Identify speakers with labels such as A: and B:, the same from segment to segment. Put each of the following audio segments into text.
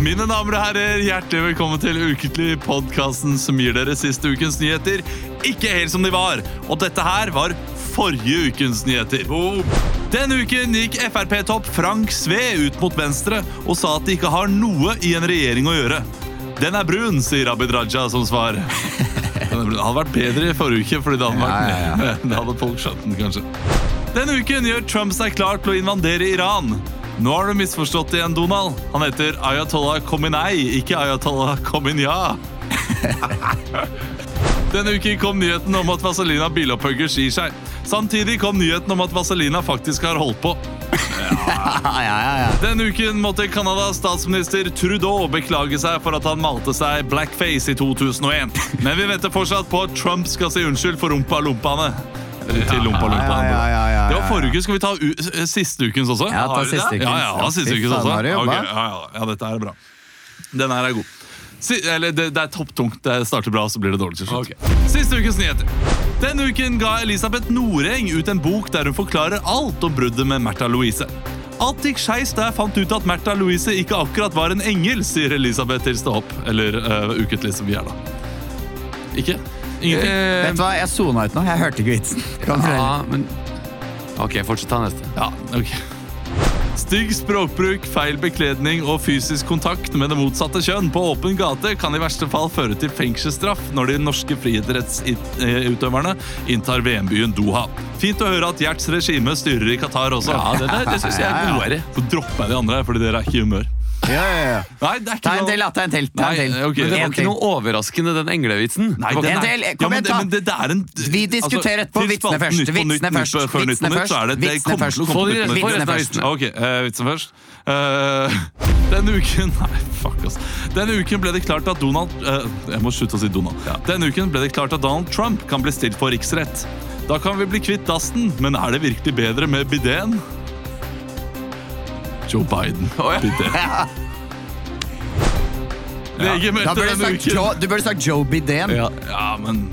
A: Mine damer og herrer, hjertelig velkommen til Ukentlig, podkasten som gir dere siste ukens nyheter ikke helt som de var. Og dette her var forrige ukens nyheter. Denne uken gikk Frp-topp Frank Sve ut mot venstre og sa at de ikke har noe i en regjering å gjøre. Den er brun, sier Abid Raja som svar. Den er brun. Det hadde vært bedre i forrige uke, fordi det hadde, vært, det hadde folk skjønt den, kanskje. Denne uken gjør Trump seg klar til å invandere Iran. Nå har du misforstått igjen, Donald. Han heter Ayatollah Khomeini, ikke Ayatollah Khomeini. Denne uken kom nyheten om at Vazelina Bilopphøggers gir seg. Samtidig kom nyheten om at Vazelina faktisk har holdt på. Denne uken måtte Canadas statsminister Trudeau beklage seg for at han malte seg blackface i 2001. Men vi venter fortsatt på at Trump skal si unnskyld for rumpa-lumpaene. Eller til rumpa-lumpaene.
B: Ja, ja, ja, ja, ja.
A: Det var forrige uke. Skal vi ta u s- eh, siste ukens også?
B: Ja, ta
A: Har vi det?
B: siste ukens.
A: Ja, ja,
B: Ja,
A: ha siste
B: fy
A: ukens
B: faen,
A: også.
B: har du jobba?
A: Ok, ja, ja, ja, dette her er bra. Den her er god. Si, eller det, det er topptungt. Det starter bra, så blir det dårlig til slutt. Siste ukens nyheter. Denne uken ga Elisabeth Noreng ut en bok der hun forklarer alt om bruddet med Märtha Louise. Alt gikk skeis da jeg fant ut at Märtha Louise ikke akkurat var en engel, sier Elisabeth til Stå opp. Eller uh, ukentlig som vi er, da. Ikke? Ingenting?
B: Eh, Vet du hva, jeg sona ut nå. Jeg hørte ikke vitsen. Kan fortelle.
C: Ja, men Ok, fortsett ta neste.
A: Ja, ok. Stygg språkbruk, feil bekledning og fysisk kontakt med det motsatte kjønn på åpen gate kan i verste fall føre til fengselsstraff når de norske friidrettsutøverne inntar VM-byen Doha. Fint å høre at Gjerts regime styrer i Qatar også. Ja, Det, der, det synes jeg er godere. Så dropper jeg de andre, her, fordi dere er ikke i humør.
B: Ja, ja, ja.
A: Nei, det er
B: Ta
A: ikke
B: en til, da. Ta en til. Ta en
A: Nei,
B: til.
A: Eh, ok, det var ikke
B: En
C: Det var ikke
B: til.
C: noe overraskende, den englevitsen.
A: Nei,
C: Det var
A: den
B: en
A: er-
B: til. Kom
A: men
B: igjen,
A: det-
B: ta.
A: men det der er en-
B: Vi diskuterer etterpå.
A: til
B: Vitsene
A: spalten
B: først.
A: Nytt på Nytt, Nytt
B: vitsene
A: på-
B: først,
A: før Nytt på
B: vitsene
A: Nytt, så er det- det kommer
B: først, vitsene
A: til å
B: først.
A: komme
C: Få de
A: på Nytt på
C: rette-
A: Nytt.
C: få resten av
A: Ja, Ok, eh, vitsen først. Eh, denne uken Nei, fuck, ass. Denne uken ble det klart at Donald eh, Jeg må slutte å si Donald. Denne uken ble det klart at Donald Trump kan bli stilt for riksrett. Da kan vi bli kvitt dassen, men er det virkelig bedre med bideen? Joe Biden. Bidé. Lege
B: Da
A: meldte
B: burde du
A: denne
B: sagt
A: uken
B: Jo- du burde sagt Joe Biden.
A: ja, ja men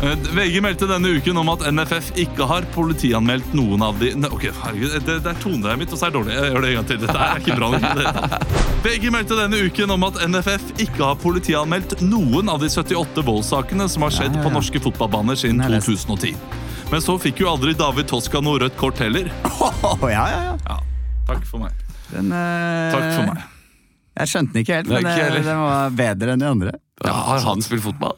A: Eh, VG meldte denne uken om at NFF ikke har politianmeldt noen av de Ne, Ok, herregud, det, det er toneleie mitt, og så er det dårlig. Jeg gjør det en gang til. Dette er ikke bra. nok, Det. VG meldte denne uken om at NFF ikke har politianmeldt noen av de 78 voldssakene som har skjedd på norske fotballbaner siden
B: Den har jeg
A: 2010. Men så fikk jo aldri David Toska noe rødt kort heller.
B: Å, ja, ja, ja.
A: Takk for meg.
B: Den, eh,
A: Takk for meg.
B: Jeg skjønte den ikke helt, men
C: Nei, ikke
B: eh,
C: heller.
B: den var bedre enn de andre.
C: Ja, har han spilt fotball?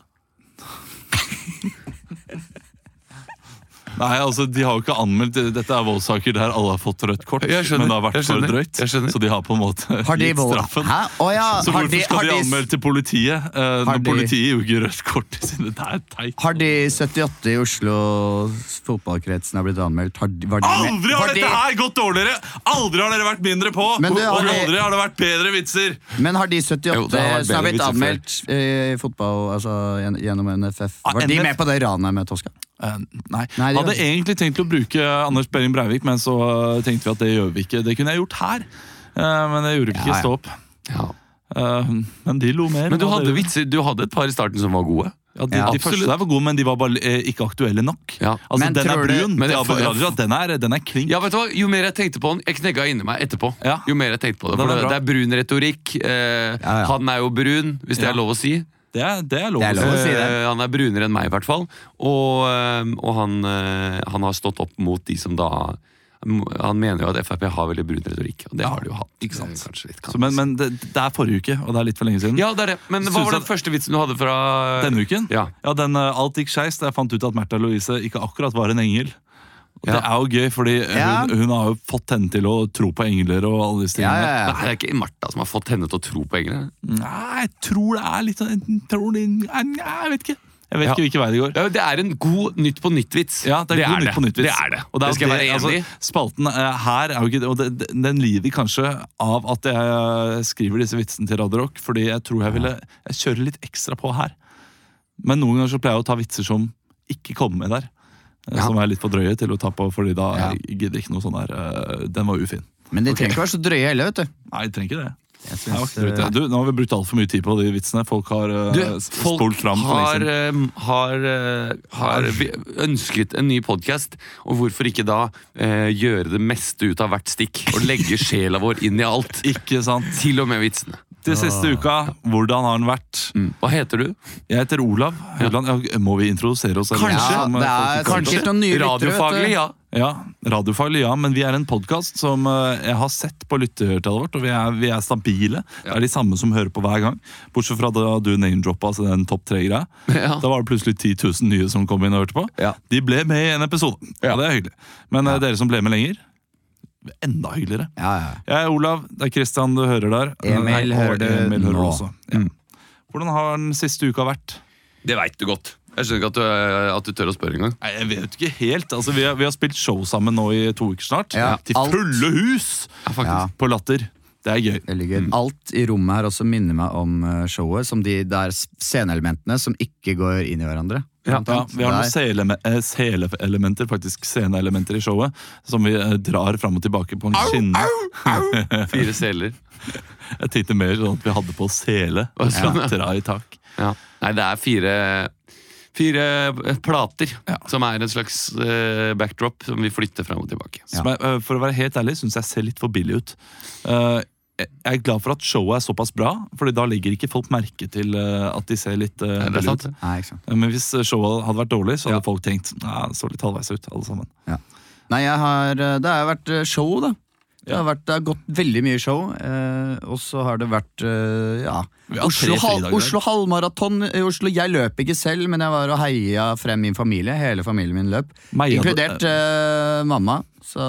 A: Nei, altså, De har jo ikke anmeldt Dette er voldssaker der alle har fått rødt kort.
C: Jeg skjønner,
A: Men det har
C: jeg
A: vært for
C: skjønner,
A: drøyt.
C: jeg skjønner.
A: Så de har på en måte
B: Har de
A: gitt
B: vold-
A: straffen.
B: Hæ? Å ja,
A: Så
B: har
A: hvorfor
B: de,
A: skal
B: har
A: de
B: de-
A: anmelde til politiet? eh, når
B: de-
A: politiet gir jo ikke rødt kort til sine Det er teit.
B: Har de 78 i Oslo fotballkretsen har blitt anmeldt? Har de, var de med-
A: Aldri har
B: var de-
A: dette her gått dårligere! Aldri har dere vært mindre på!
B: Men du, har
A: og
B: de-
A: aldri har det vært bedre vitser!
B: Men har de 78
C: Jo, det har vært
B: som har blitt
C: bedre vitser
B: anmeldt i fotball altså, gen- gjennom NFF,
A: Ah,
B: var de
A: NFF?
B: med på det ranet med Toska?
A: Eh, nei.
B: Nei,
A: Jeg hadde
B: det gjør vi
A: egentlig tenkt å bruke Anders Behring Breivik, men så eh, tenkte vi at det gjør vi ikke. Det kunne jeg gjort her, eh, men det gjorde vi ikke
B: Ja, ja.
A: i Stå opp.
C: Ja.
A: Eh, men de lo mer.
C: Men du
A: enn hva
C: hadde
A: dere-
C: vitser, du hadde et par i starten som var gode.
A: Ja, de,
B: Ja,
A: de
C: absolutt.
A: første der var gode, men de var bare eh, ikke aktuelle nok.
C: Ja.
A: Altså,
B: Men
A: den er
B: tror du-
A: brun,
C: men
A: til
C: jeg
A: Abid
C: får-
A: Raja, den er, den er klink.
C: Ja, vet du hva? Jo mer jeg tenkte på den, jeg knegga inni meg etterpå.
A: Ja.
C: Jo mer jeg tenkte på det,
A: Den
C: for
A: er bra.
C: det, det er brun retorikk. Eh,
B: Ja, ja.
C: Han er jo brun, hvis det
A: Ja.
C: er lov å si.
A: Det, er, det er lov.
B: Det er lov å si det.
C: Eh, han er brunere enn meg, i hvert fall. Og, eh, og han, eh, han har stått opp mot de som da Han mener jo at Frp har veldig brun retorikk, og det har de jo hatt. Ikke sant? Kanskje litt, kan
A: Så, men
C: man si.
A: men det, det er forrige uke, og det er litt for lenge siden.
C: ja, det er det. Men hva
A: Synes
C: var
A: jeg-
C: den første vitsen du hadde fra
A: Denne uken?
C: Ja.
A: den eh, Alt gikk skeis da jeg fant ut at Märtha Louise ikke akkurat var en engel. Det er jo gøy, fordi
B: Ja.
A: hun, hun har jo fått henne til å tro på engler og alle disse
B: Ja,
A: tingene.
B: ja, ja.
C: Nei, det er ikke Martha som har fått henne til å tro på englene.
A: Nei, jeg tror det er litt av- enten tror det, nei, Jeg vet ikke. Jeg vet
C: Ja.
A: ikke hvilken vei det går.
C: Ja, det er en god Nytt på nytt-vits.
A: Ja, det er, god nytt på nytt vits.
C: Det er det.
A: Og det, er jo
C: skal jeg være
A: det-
C: enig i.
A: altså, Spalten eh, her er jo ikke Og det, det- den lider kanskje av at jeg eh, skriver disse vitsene til Radio Rock, fordi jeg tror jeg ville Jeg kjører litt ekstra på her. Men noen ganger så pleier jeg å ta vitser som ikke kommer med der. eh,
C: Ja.
A: Som er litt for drøye til å ta på, fordi da
B: Ja.
A: jeg gidder ikke noe sånn der eh, Den var ufin.
B: Men de trenger ikke være så drøye heller, vet du.
A: Nei, jeg trenger ikke det.
B: Jeg
A: Jeg var
B: synes,
A: ikke drøyt,
B: eh,
A: jeg. Du, nå har vi brukt altfor mye tid på de vitsene. Folk har eh,
C: Du,
A: s-
C: folk
A: spolt fram. for
C: har,
A: lenge siden.
C: eh, har, eh, har vi- ønsket en ny podkast, og hvorfor ikke da eh, gjøre det meste ut av hvert stikk? Og legge sjela vår inn i alt.
A: Ikke sant?
C: Til og med vitsene.
A: Til siste uka, hvordan har den vært?
C: Hva heter du?
A: Jeg heter Olav Høyland. Ja, Må vi introdusere oss? eller?
C: Kanskje.
A: Som, eh,
B: Ja, det er
A: folk ikke
B: kanskje
A: vet om.
B: noen nye lyttere. vet
C: Radiofaglig,
B: du.
C: ja.
A: Ja, radiofaglig, ja. Men vi er en podkast som eh, jeg har sett på lyttertallet vårt, og vi er, vi er stabile. Det er de samme som hører på hver gang. Bortsett fra da du name-droppa altså den topp tre-greia.
C: Ja.
A: Da var det plutselig 10 000 nye som kom inn og hørte på.
B: Ja.
A: De ble med i en episode,
B: Ja.
A: og det er hyggelig. Men eh, dere som ble med lenger, enda hyggeligere.
B: Ja, ja.
A: Jeg er Olav, det er Kristian du hører der.
B: Emil
A: Nei, og
B: hører du
A: Emil hører
B: nå. Mm.
A: også. Ja. Hvordan har den siste uka vært?
C: Det veit du godt. Jeg skjønner ikke at du, eh, at du tør å spørre engang.
A: Nei, Jeg vet ikke helt. Altså, vi, har, vi har spilt show sammen nå i to uker snart.
B: Ja,
A: Til
B: alt.
A: fulle hus
C: Ja,
B: Ja.
C: faktisk.
A: på Latter. Det er gøy.
B: Veldig gøy. Alt i rommet her også minner meg om eh, showet. Som de der s- sceneelementene som ikke går inn i hverandre.
A: Ja,
B: Omtrent.
A: vi har
B: Der.
A: noen seleme- eh, seleelementer, faktisk sceneelementer i showet, som vi eh, drar fram og tilbake på en skinne.
C: Fire seler.
A: Jeg tenkte mer sånn at vi hadde på sele. Og så dra i tak.
C: Ja. Nei, det er fire Fire plater som er en slags eh, backdrop som vi flytter fram og tilbake.
A: Som jeg, eh, for å være helt ærlig, syns jeg ser litt for billig ut. Eh, jeg jeg er glad for at showet er såpass bra, Fordi da legger ikke folk merke til eh, at de ser litt uh,
C: Er det
A: billige
C: sant?
A: ut.
B: Nei, ikke sant.
A: Eh, Men hvis eh, showet hadde vært dårlig, så hadde folk tenkt Nei, det så litt halvveis ut, alle sammen.
B: Nei, jeg har, eh, det har jo vært eh, show, da. Det har, vært, det har gått veldig mye show, eh, og så har det vært eh, ja.
A: Vi har
B: Oslo,
A: tre
B: hal,
A: fridager.
B: Oslo halvmaraton. eh, Oslo, jeg løp ikke selv, men jeg var og heia frem min familie. Hele familien min løp.
A: Meia-
B: Inkludert eh, mamma. Så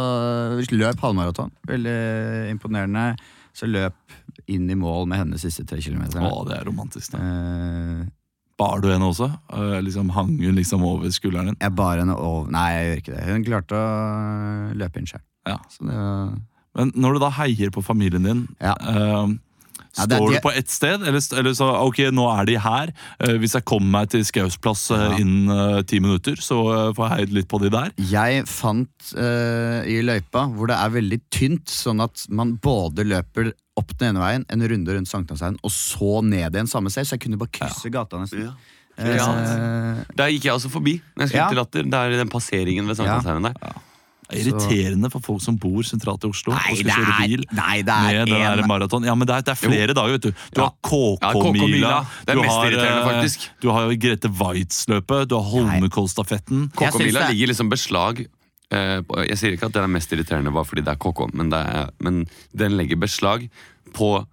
B: vi løp halvmaraton. Veldig imponerende. Så løp inn i mål med henne de siste tre
A: Å,
B: kilometerne.
A: det er romantisk. Da.
B: Eh,
A: Bar du henne også? Eh, liksom Hang hun liksom over skulderen din?
B: jeg bar henne over Nei, jeg gjør ikke det. Hun klarte å løpe inn sjøl.
A: Ja.
B: Så det var
A: Men når du da heier på familien din
B: Ja.
A: eh,
B: Ja,
A: Står
B: det er
A: du
B: det-
A: på ett sted, eller, st- eller så ok, nå er de her. Eh, hvis jeg kommer meg til Skaus plass eh,
B: Ja.
A: innen eh, ti minutter, så eh, får jeg heid litt på de der.
B: Jeg fant eh, i løypa hvor det er veldig tynt, sånn at man både løper opp den ene veien, en runde rundt Sankthanshaugen, og så ned igjen samme sted. Så jeg kunne bare krysse gata nesten.
C: Ja.
B: Eh,
C: Ja. Der gikk jeg også forbi. Når jeg skulle
B: Ja.
C: til Latter, Der den passeringen ved Sankthanshaugen der.
A: Det er Irriterende for folk som bor sentralt i Oslo og skal kjøre bil.
B: nei, det
A: Med den
B: en-
A: der maraton. Ja, men det er, det er flere dager, vet du. Du
C: Ja.
A: har KK-mila.
C: Ja, KK-mila. Det er
A: du
C: mest
A: har, eh,
C: irriterende, faktisk.
A: Du har Grete Waitz-løpet, du har Holmenkollstafetten.
B: Jeg synes
C: KK-mila
B: det-
C: ligger liksom beslag eh, på- Jeg sier ikke at den er mest irriterende bare fordi det er KK, men, det er, men den legger beslag på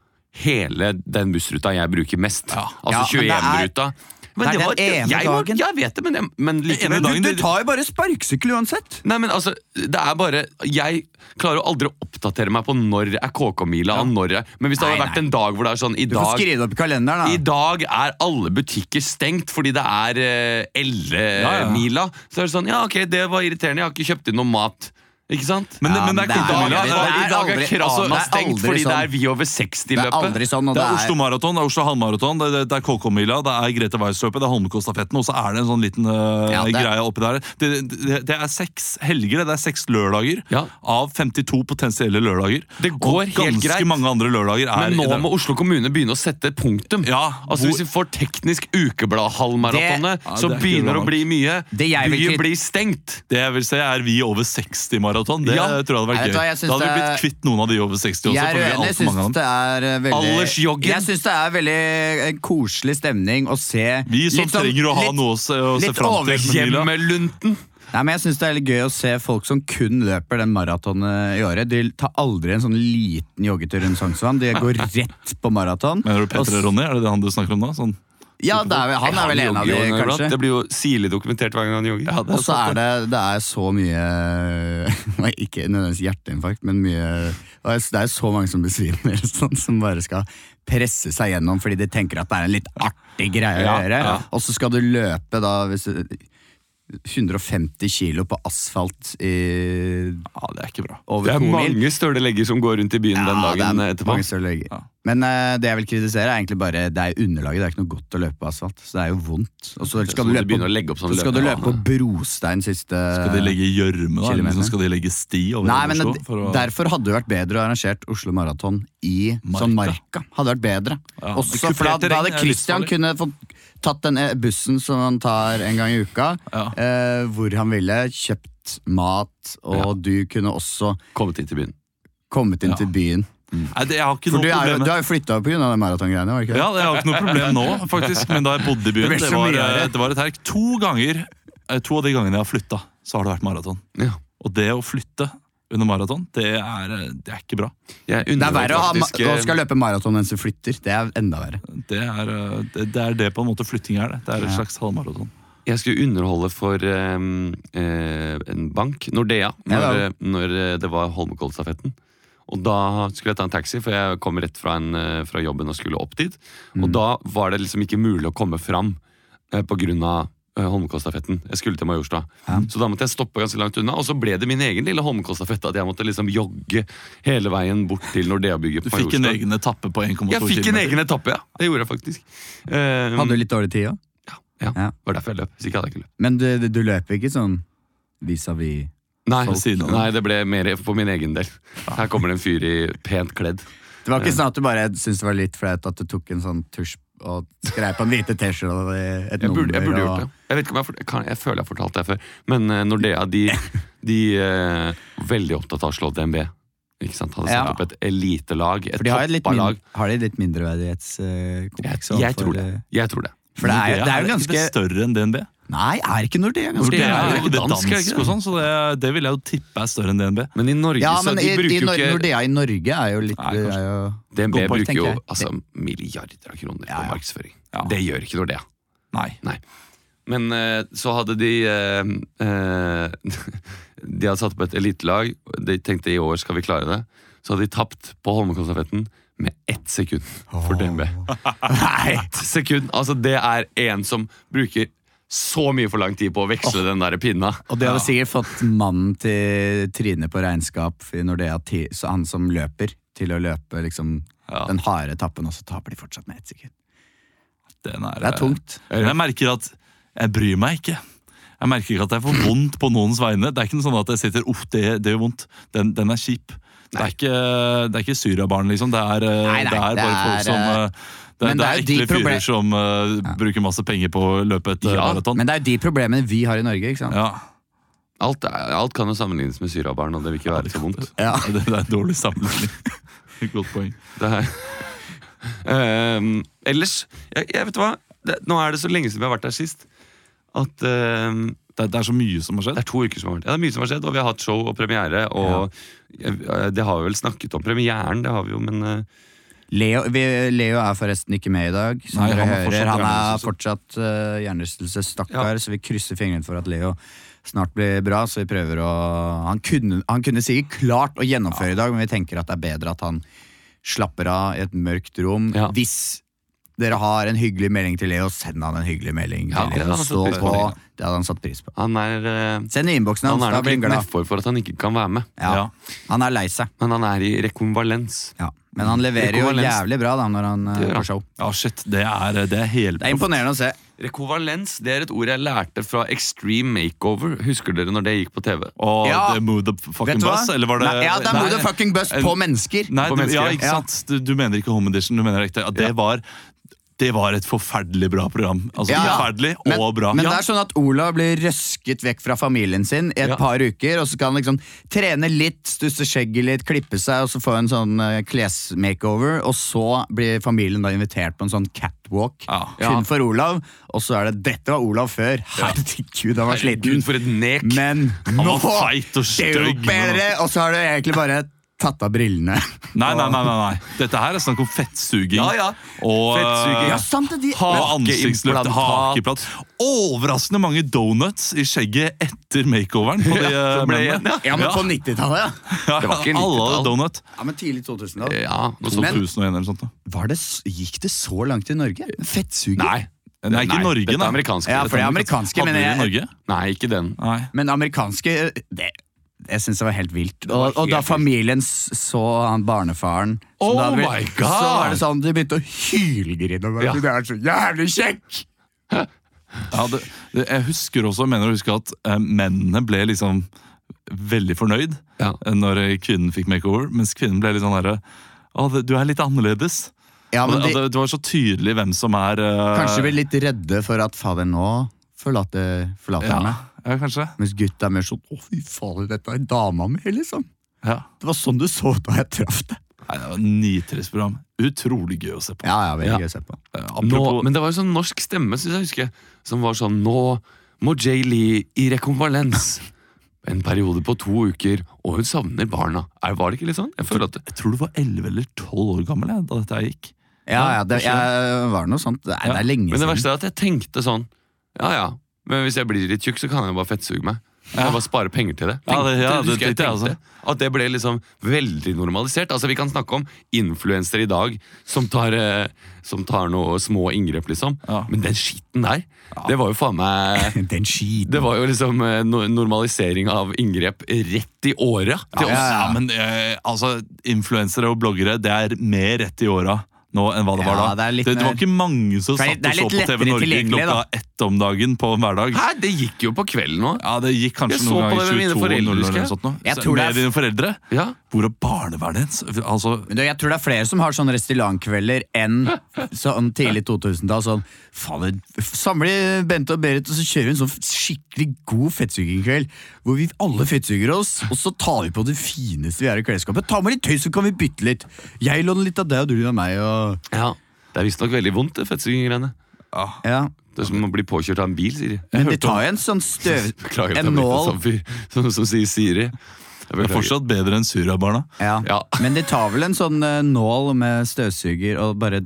C: hele den bussruta jeg bruker mest.
B: Ja,
C: Altså
B: men det er-
C: 21-ruta.
B: det er den ene
C: jeg, var-
B: dagen.
C: Jeg vet det, men, jeg, men likevel
A: ene dagen
B: Du tar jo bare sparkesykkel uansett!
C: Nei, men altså, det er bare Jeg klarer jo aldri å oppdatere meg på når er KK-mila, og når er Men hvis det hadde
B: Nei,
C: vært en dag hvor det er sånn I
B: Du får
C: dag,
B: skrive det opp i kalenderen,
C: i
B: da.
C: dag er alle butikker stengt fordi det er eh,
A: ja.
C: Elle-mila, så er det sånn Ja, ok, det var irriterende, jeg har ikke kjøpt inn noe mat. Ikke sant?
A: Men,
B: Ja,
A: men det
B: men
A: er
B: det er
A: KK-mila.
B: aldri-
C: I dag-
B: det
C: I dag er
B: aldri-
C: krana
B: altså, det er
C: stengt
B: aldri
C: fordi det
B: sånn.
C: er vi over
B: Det er
C: 60-løpet.
B: aldri sånn, og
A: Det
B: det
A: er Oslo
B: er
A: Maraton, det er Oslo Halvmaraton, det, det, det er KK-mila, det er Grete Weiss-løpet, det er Holmenkollstafetten, og så er det en sånn liten eh,
B: Ja, det er-
A: greie oppi der. Det, det, det er seks helger, det er seks lørdager,
C: Ja.
A: av 52 potensielle lørdager.
C: Det går
A: og
C: helt
A: ganske
C: greit.
A: mange andre lørdager er
C: Men nå
A: i den-
C: må Oslo kommune begynne å sette punktum.
A: Ja,
C: altså
A: hvor-
C: Hvis vi får teknisk ukebladhalvmaratonet,
B: Det-
A: Ja,
C: så
A: det er ikke
C: begynner det
A: bra
C: å bli mye.
B: Det jeg vil
C: Byen
B: krit-
C: blir stengt.
A: Det jeg vil si er vi over 60-maraton. Det
C: Ja.
A: tror jeg hadde vært
B: Nei, vet
A: gøy.
B: du hva, jeg synes
A: Da hadde vi
B: det
A: blitt kvitt noen av de over 60 også.
B: Jeg er
A: for vi har
B: uenig.
A: alt
B: Jeg
A: for mange av dem.
B: syns det er eh, veldig
C: Aldersjoggen.
B: Jeg syns det er veldig eh, koselig stemning å se
A: Vi som
B: litt sånn-
A: trenger å ha
B: litt-
A: noe å se, å se
B: litt
A: fram til.
B: overhjem-
A: Mila.
C: Hjemmelunten.
B: Nei, men jeg synes det er litt gøy å se folk som kun løper den maratonen i året. De tar aldri en sånn liten joggetur rundt Sognsvann. De går rett på maraton.
A: Mener du
B: Og s-
A: Petter og Ronny? Er det det han du snakker om nå? Sånn
B: Ja, det er, vel- han er vel en av de,
C: jogger jo overalt.
B: kanskje.
C: Det blir jo sirlig dokumentert hver gang han Altså, jogger.
A: Ja, det
B: Og så er det, det er så mye nei, Ikke nødvendigvis hjerteinfarkt, men mye og Det er så mange som besvimer, sånn, som bare skal presse seg gjennom fordi de tenker at det er en litt artig greie å
C: Ja,
B: gjøre.
C: ja.
B: Og så skal du løpe da hvis du, 150 kilo på asfalt i,
A: Ja, det er ikke bra.
B: over
C: Det er
B: to mil.
C: mange støle legger som går rundt i byen den
B: Ja, det er
C: dagen etterpå.
B: mange større legger.
A: Ja.
B: Men eh, det jeg vil kritisere, er egentlig bare det er underlaget. Det er ikke noe godt å løpe på asfalt. Så det er jo vondt. Og så
C: Så
B: skal
C: må
B: du
C: du
B: løpe
C: begynne å legge opp
B: på,
C: sånn
B: så skal du løpe på
C: løpebane.
B: brostein siste
A: Skal de legge gjørme, da? Eller
B: kilometer.
A: liksom skal de legge sti over
B: Eh, Nei,
A: hele
B: men
A: Oslo?
B: det-
A: for å-
B: Derfor hadde det vært bedre å arrangert Oslo Maraton i
A: Marka.
B: marka. sånn marka. Hadde vært bedre.
A: Ja, det
B: Også,
A: kuperte
B: for da, da
A: terreng
B: hadde
A: er
B: Christian
A: livsfarlig.
B: kunne fått tatt den eh, bussen som han tar en gang i uka,
A: Ja.
B: eh, hvor han ville, kjøpt mat, og du kunne også
C: Kommet inn til byen.
B: kommet inn
A: Ja.
B: til byen.
A: Nei, det, jeg har ikke
B: For
A: noe
B: du, er, jo-
A: problem
B: du
A: med
B: har jo flytta over pga. de maratongreiene, var det ikke det?
A: Ja, det har jeg ikke noe problem nå, faktisk. Men da jeg bodde i byen,
B: Det
A: det,
B: blir så
A: var,
B: mye
A: eh,
B: rarere.
A: det var et herk. To ganger, eh, to av de gangene jeg har flytta, så har det vært maraton.
C: Ja.
A: Og det å flytte under maraton, det, er, eh, det er ikke bra.
C: Jeg
B: Det er
C: unner
B: verre å ha
C: faktisk,
B: ma-
C: eh,
B: å skal løpe maraton mens du flytter. Det er enda verre.
A: Det er, eh, det, det er det på en måte flytting er, det. Det er et slags halvmaraton.
C: Jeg skulle underholde for ehm, eh, en bank, Nordea, når,
B: Ja, ja.
C: når eh, det var Holmenkollstafetten. Og da skulle jeg ta en taxi, for jeg kom rett fra, en, eh, fra jobben og skulle opp dit.
A: Mm.
C: Og da var det liksom ikke mulig å komme fram eh, på grunn av eh, Holmenkollstafetten. Jeg skulle til Majorstad. Så da måtte jeg stoppe ganske langt unna, og så ble det min egen lille Holmenkollstafett. At jeg måtte liksom jogge hele veien bort til Nordea-bygget
A: Du
C: på
A: fikk en
C: Majorstad.
A: egen etappe på 1,2 km.
C: Jeg fikk en egen etappe, ja. Det gjorde jeg faktisk. Eh,
B: Hadde du litt dårlig tid òg?
C: ja,
B: Ja.
C: Det var derfor jeg løp. Hvis ikke hadde jeg ikke løpt.
B: Men du, du, du løper ikke sånn vis-à-vis
C: Nei,
A: Ved siden av
C: nei, det ble mer for min egen del. Her kommer det en fyr i pent kledd.
B: Det var ikke sånn at du bare syntes det var litt flaut at du tok en sånn tusj og skrev på en hvite T-skjorte og et
C: Jeg burde, jeg
B: nummer
C: burde gjort det.
B: og
C: Jeg vet ikke om jeg, har fort- kan, jeg føler jeg har fortalt det før, men eh, Nordea de, de eh, veldig opptatt av å slå DNB. Ikke sant? Hadde satt
B: Ja.
C: opp et elitelag, et
B: For de har, et litt min,
C: toppalag.
B: har de litt mindreverdighetskompleks?
C: Jeg, jeg, tror det.
B: eh,
C: jeg tror det.
B: For det er, det er jo
A: ikke
B: ganske
A: det større enn DNB.
B: Nei, er ikke Nordea ganske
A: Det
C: Nordea
A: er
C: er
A: jo
C: ikke
A: det er
C: dansk, er det ikke
A: dansk og sånn, så det, det vil jeg jo tippe er større enn DNB.
C: Men i Norge
B: Ja,
C: så
B: men
C: de
B: i, i,
C: bruker jo
B: Nor-
C: ikke
B: Nordea i Norge er jo litt
A: Nei,
B: det
A: kanskje.
B: er jo,
C: DNB
B: Godt poeng,
C: bruker jo
B: tenker jeg.
C: altså, milliarder av kroner på
B: Ja, ja.
C: markedsføring.
A: Ja.
C: Det gjør ikke Nordea.
A: Nei.
C: Men eh, så hadde de eh, eh, De hadde satt opp et elitelag. De tenkte i år skal vi klare det. Så hadde de tapt på Holmenkollstafetten med ett sekund for DNB. Ett sekund! Altså, det er en som bruker så mye for lang tid på å veksle den der pinna.
B: Og det hadde sikkert fått mannen til Trine på regnskap i Nordea, ti- så han som løper, til å løpe liksom
A: Ja.
B: den harde etappen, og så taper de fortsatt med ett sekund.
A: Den er,
B: Det er tungt.
A: Men Jeg merker at jeg bryr meg ikke. Jeg merker ikke at det er for vondt på noens vegne. Det er ikke noe sånn at jeg sitter, uff, det, det gjør vondt. Den, den er kjip. Det er ikke, det er ikke Syria-barn, liksom. Det er, eh,
B: Nei, nei,
A: det er
B: det
A: bare
B: er,
A: folk som eh, Det,
B: men
A: er- det er
B: det er jo
A: ekle
B: de proble-
A: fyrer som eh, bruker masse penger på å løpe et eh,
C: Ja,
A: maraton.
B: Men det er jo de problemene vi har i Norge, ikke sant?
A: Ja,
C: Alt, er- alt kan jo sammenlignes med syrabarn, og det vil ikke være så vondt.
B: Ja.
A: det, det er en dårlig sammenligning. Godt poeng.
C: Det er. Ehm, ellers jeg, jeg vet du hva? Det, nå er det så lenge siden vi har vært her sist at ehm,
A: Det, det er så mye som har skjedd.
C: Det er to uker som har vært. Ja, det er mye som har skjedd, og vi har hatt show og premiere. Og eh, det har vi vel snakket om. Premieren, det har vi jo, men eh,
B: Leo, vi, Leo er forresten ikke med i dag. Som
A: Nei,
B: dere
A: han er
B: hører,
A: fortsatt
B: han er
A: hjernerystelse.
B: fortsatt uh, hjernerystelse, stakkar. Så vi krysser fingrene for at Leo snart blir bra. Så vi prøver å Han kunne, han kunne sikkert klart å gjennomføre i dag, men vi tenker at det er bedre at han slapper av i et mørkt rom.
C: Ja.
B: Hvis dere har en hyggelig melding til Leo, send han en hyggelig melding.
C: Ja, det
B: til Leo.
C: hadde han satt
B: Stå
C: pris på.
B: på. Det hadde han satt pris på.
C: han er eh,
B: Send i innboksen
C: Han
B: hans,
C: er
B: da
C: nok
B: blir han
C: litt
B: glad.
C: nedfor for at han ikke kan være med.
B: Ja.
A: Ja.
B: Han er lei seg.
C: Men han er i rekonvalens.
B: Ja. Men han leverer jo
C: Rekonvalens.
B: jævlig bra da når han
C: Det gjør
B: uh,
C: han.
B: får show.
A: Ja, shit, det er, det er
B: Det er
A: helproff.
B: imponerende å se.
C: Rekonvalens det er et ord jeg lærte fra Extreme Makeover. Husker dere når det gikk på TV?
A: Og
B: Ja.
A: det Move the
B: Vet
A: fucking
B: du hva?
A: bus, eller var det
B: Nei, ja, det er
A: Nei. Eh,
B: Move the fucking bus på mennesker.
A: Nei,
C: på
A: du,
C: mennesker,
A: ja,
C: ja.
A: ikke sant? Du, du mener ikke Home Edition, du mener ekte. Ja, det, var, det var et forferdelig bra program. Altså,
B: Ja, ja.
A: Forferdelig
B: Men,
A: og bra.
B: men
A: ja.
B: det er sånn at Olav blir røsket vekk fra familien sin i et par uker, og så skal han liksom trene litt, stusse skjegget litt, klippe seg, og så få en sånn uh, klesmakeover, og så blir familien da invitert på en sånn catwalk
A: Ja.
B: kun for Olav, og så er det 'dette var Olav før'. Herregud, han var sliten.
C: Herregud, for et nek!
B: Men
A: Han
B: nå
A: var feit og
B: det er jo
A: stygg.
B: bedre! Og så har du egentlig bare tatt av brillene.
A: Nei, nei, nei, nei, nei. Dette her er snakk om fettsuging.
C: Ja, ja.
A: Og eh,
C: Fettsuging.
B: Ja, sant det, de-
A: ha ansiktsløft,
C: Hakeimplantat.
A: hakeimplant. Overraskende mange donuts i skjegget etter makeoveren. På de, eh,
C: ble
A: mennene.
C: igjen,
B: Ja, men
A: Ja.
B: på 90-tallet, ja. Eh,
A: Ja,
C: Det var ikke
A: Alle
C: 90-tall.
A: hadde donut.
B: ja. Men tidlig 2000-tall.
C: Ja,
A: Nå står
C: noe sånt.
B: Men-
A: 1000 og en eller sånn.
B: Var det s- Gikk det så langt i Norge? Fettsuging?
C: Nei.
A: Nei, ikke Norge,
C: Dette
A: da.
C: er amerikanske.
B: Ja,
C: dette
B: for det er amerikanske,
C: amerikanske.
A: Hadde
B: men
A: de det i
B: jeg,
A: Norge?
C: Nei, ikke den.
A: Nei.
B: men amerikanske eh, det, Jeg syns det var helt vilt.
C: var
B: Og, og da
C: helt vilt.
B: familien s- så han barnefaren som
C: Oh
B: da hadde
C: my
B: blitt-
C: God!
B: Så var det sånn, de begynte å hylgrine. og bare,
C: Ja.
B: Du er så jævlig kjekk!
A: Ja, det, det, jeg husker også, jeg mener å huske at eh, mennene ble liksom veldig fornøyd
C: Ja.
A: eh, når eh, kvinnen fikk makeover, mens kvinnen ble litt sånn derre Å, det- du er litt annerledes.
B: Ja, men
A: Og det,
B: de,
A: det var så tydelig hvem som er eh,
B: kanskje ble litt redde for at fader, nå forlater, forlater
A: ja,
B: han meg.
A: ja, kanskje.
B: Mens gutta er mer sånn Å, fy fader, dette er dama mi, liksom.
A: Ja.
B: Det var sånn du så da jeg traff deg.
A: Nei, det var et nitrist program. Utrolig gøy å se på.
B: Ja, ja,
C: Ja.
B: veldig gøy å se på.
A: Eh,
C: Nå,
A: apropos
C: men det var jo sånn norsk stemme, synes jeg husker, som var sånn Nå må Jay Lee i rekonvalens. En periode på to uker, og hun savner barna. Er, var det ikke litt sånn? Jeg føler at det,
A: Jeg tror du var 11 eller 12 år gammel jeg, da dette her gikk.
B: Ja, ja, det jeg, var noe sånt. Nei, det er lenge
C: Men det
B: siden.
C: verste er at jeg tenkte sånn Ja ja, men hvis jeg blir litt tjukk, så kan jeg bare fettsuge meg. Jeg bare spare penger til det.
A: Ja, det- ja,
C: Tenkte-
A: det
C: husker jeg
A: tenkte jeg
C: tenkte At det ble liksom veldig normalisert. Altså Vi kan snakke om influensere i dag som tar, eh, som tar noe små inngrep, liksom.
A: Ja.
C: Men den skitten der, det var jo faen meg
B: Den skiten.
C: Det var jo liksom eh, no- normalisering av inngrep rett i åra.
A: Ja,
C: til oss.
B: ja, ja.
A: men eh, altså, influensere og bloggere, det er mer rett i åra nå enn hva det var
B: Ja,
A: da.
B: det er litt
A: det, det var
B: mer-
A: ikke mange som
B: For
A: satt
B: det
A: og
B: er
A: så på
B: litt
A: TV
B: lettere
A: Norge
B: tilgjengelig,
A: klokka
B: da.
A: ett om dagen på en hverdag.
C: Hæ, det gikk jo på kvelden nå.
A: Ja, det gikk kanskje
C: Jeg så
A: noen
C: på det
A: ganger
C: med mine
A: 22
C: foreldre,
A: eller
C: husker
A: noe
C: jeg.
A: sånt nå.
B: Jeg
A: Så-
B: tror det er-
A: Med dine foreldre?
C: Ja.
A: Hvor er barnevernet hennes? Altså,
B: Men du, jeg tror det er flere som har sånne restaurantkvelder enn sånn tidlig 2000-tall. Sånn, fader, samle Bente og Berit, og så kjører vi en sånn skikkelig god fettsugingkveld. Hvor vi alle fettsuger oss, og så tar vi på det fineste vi har i klesskapet. Ta med litt tøy, så kan vi bytte litt. Jeg låner litt av deg, og du låner meg. Og,
C: Ja. Det er visstnok veldig vondt, det fettsuginggreiene.
B: ja.
C: Det er som å bli påkjørt av en bil, sier de.
B: Men de tar jo en sånn støv...
C: Beklager at
B: En
C: jeg ble en
B: nål.
C: sånn fyr som, som sier Siri. Jeg
A: det er
C: beklager.
A: fortsatt bedre enn Syria-barna.
B: Ja.
C: Ja.
B: Men de tar vel en sånn eh, nål med støvsuger og bare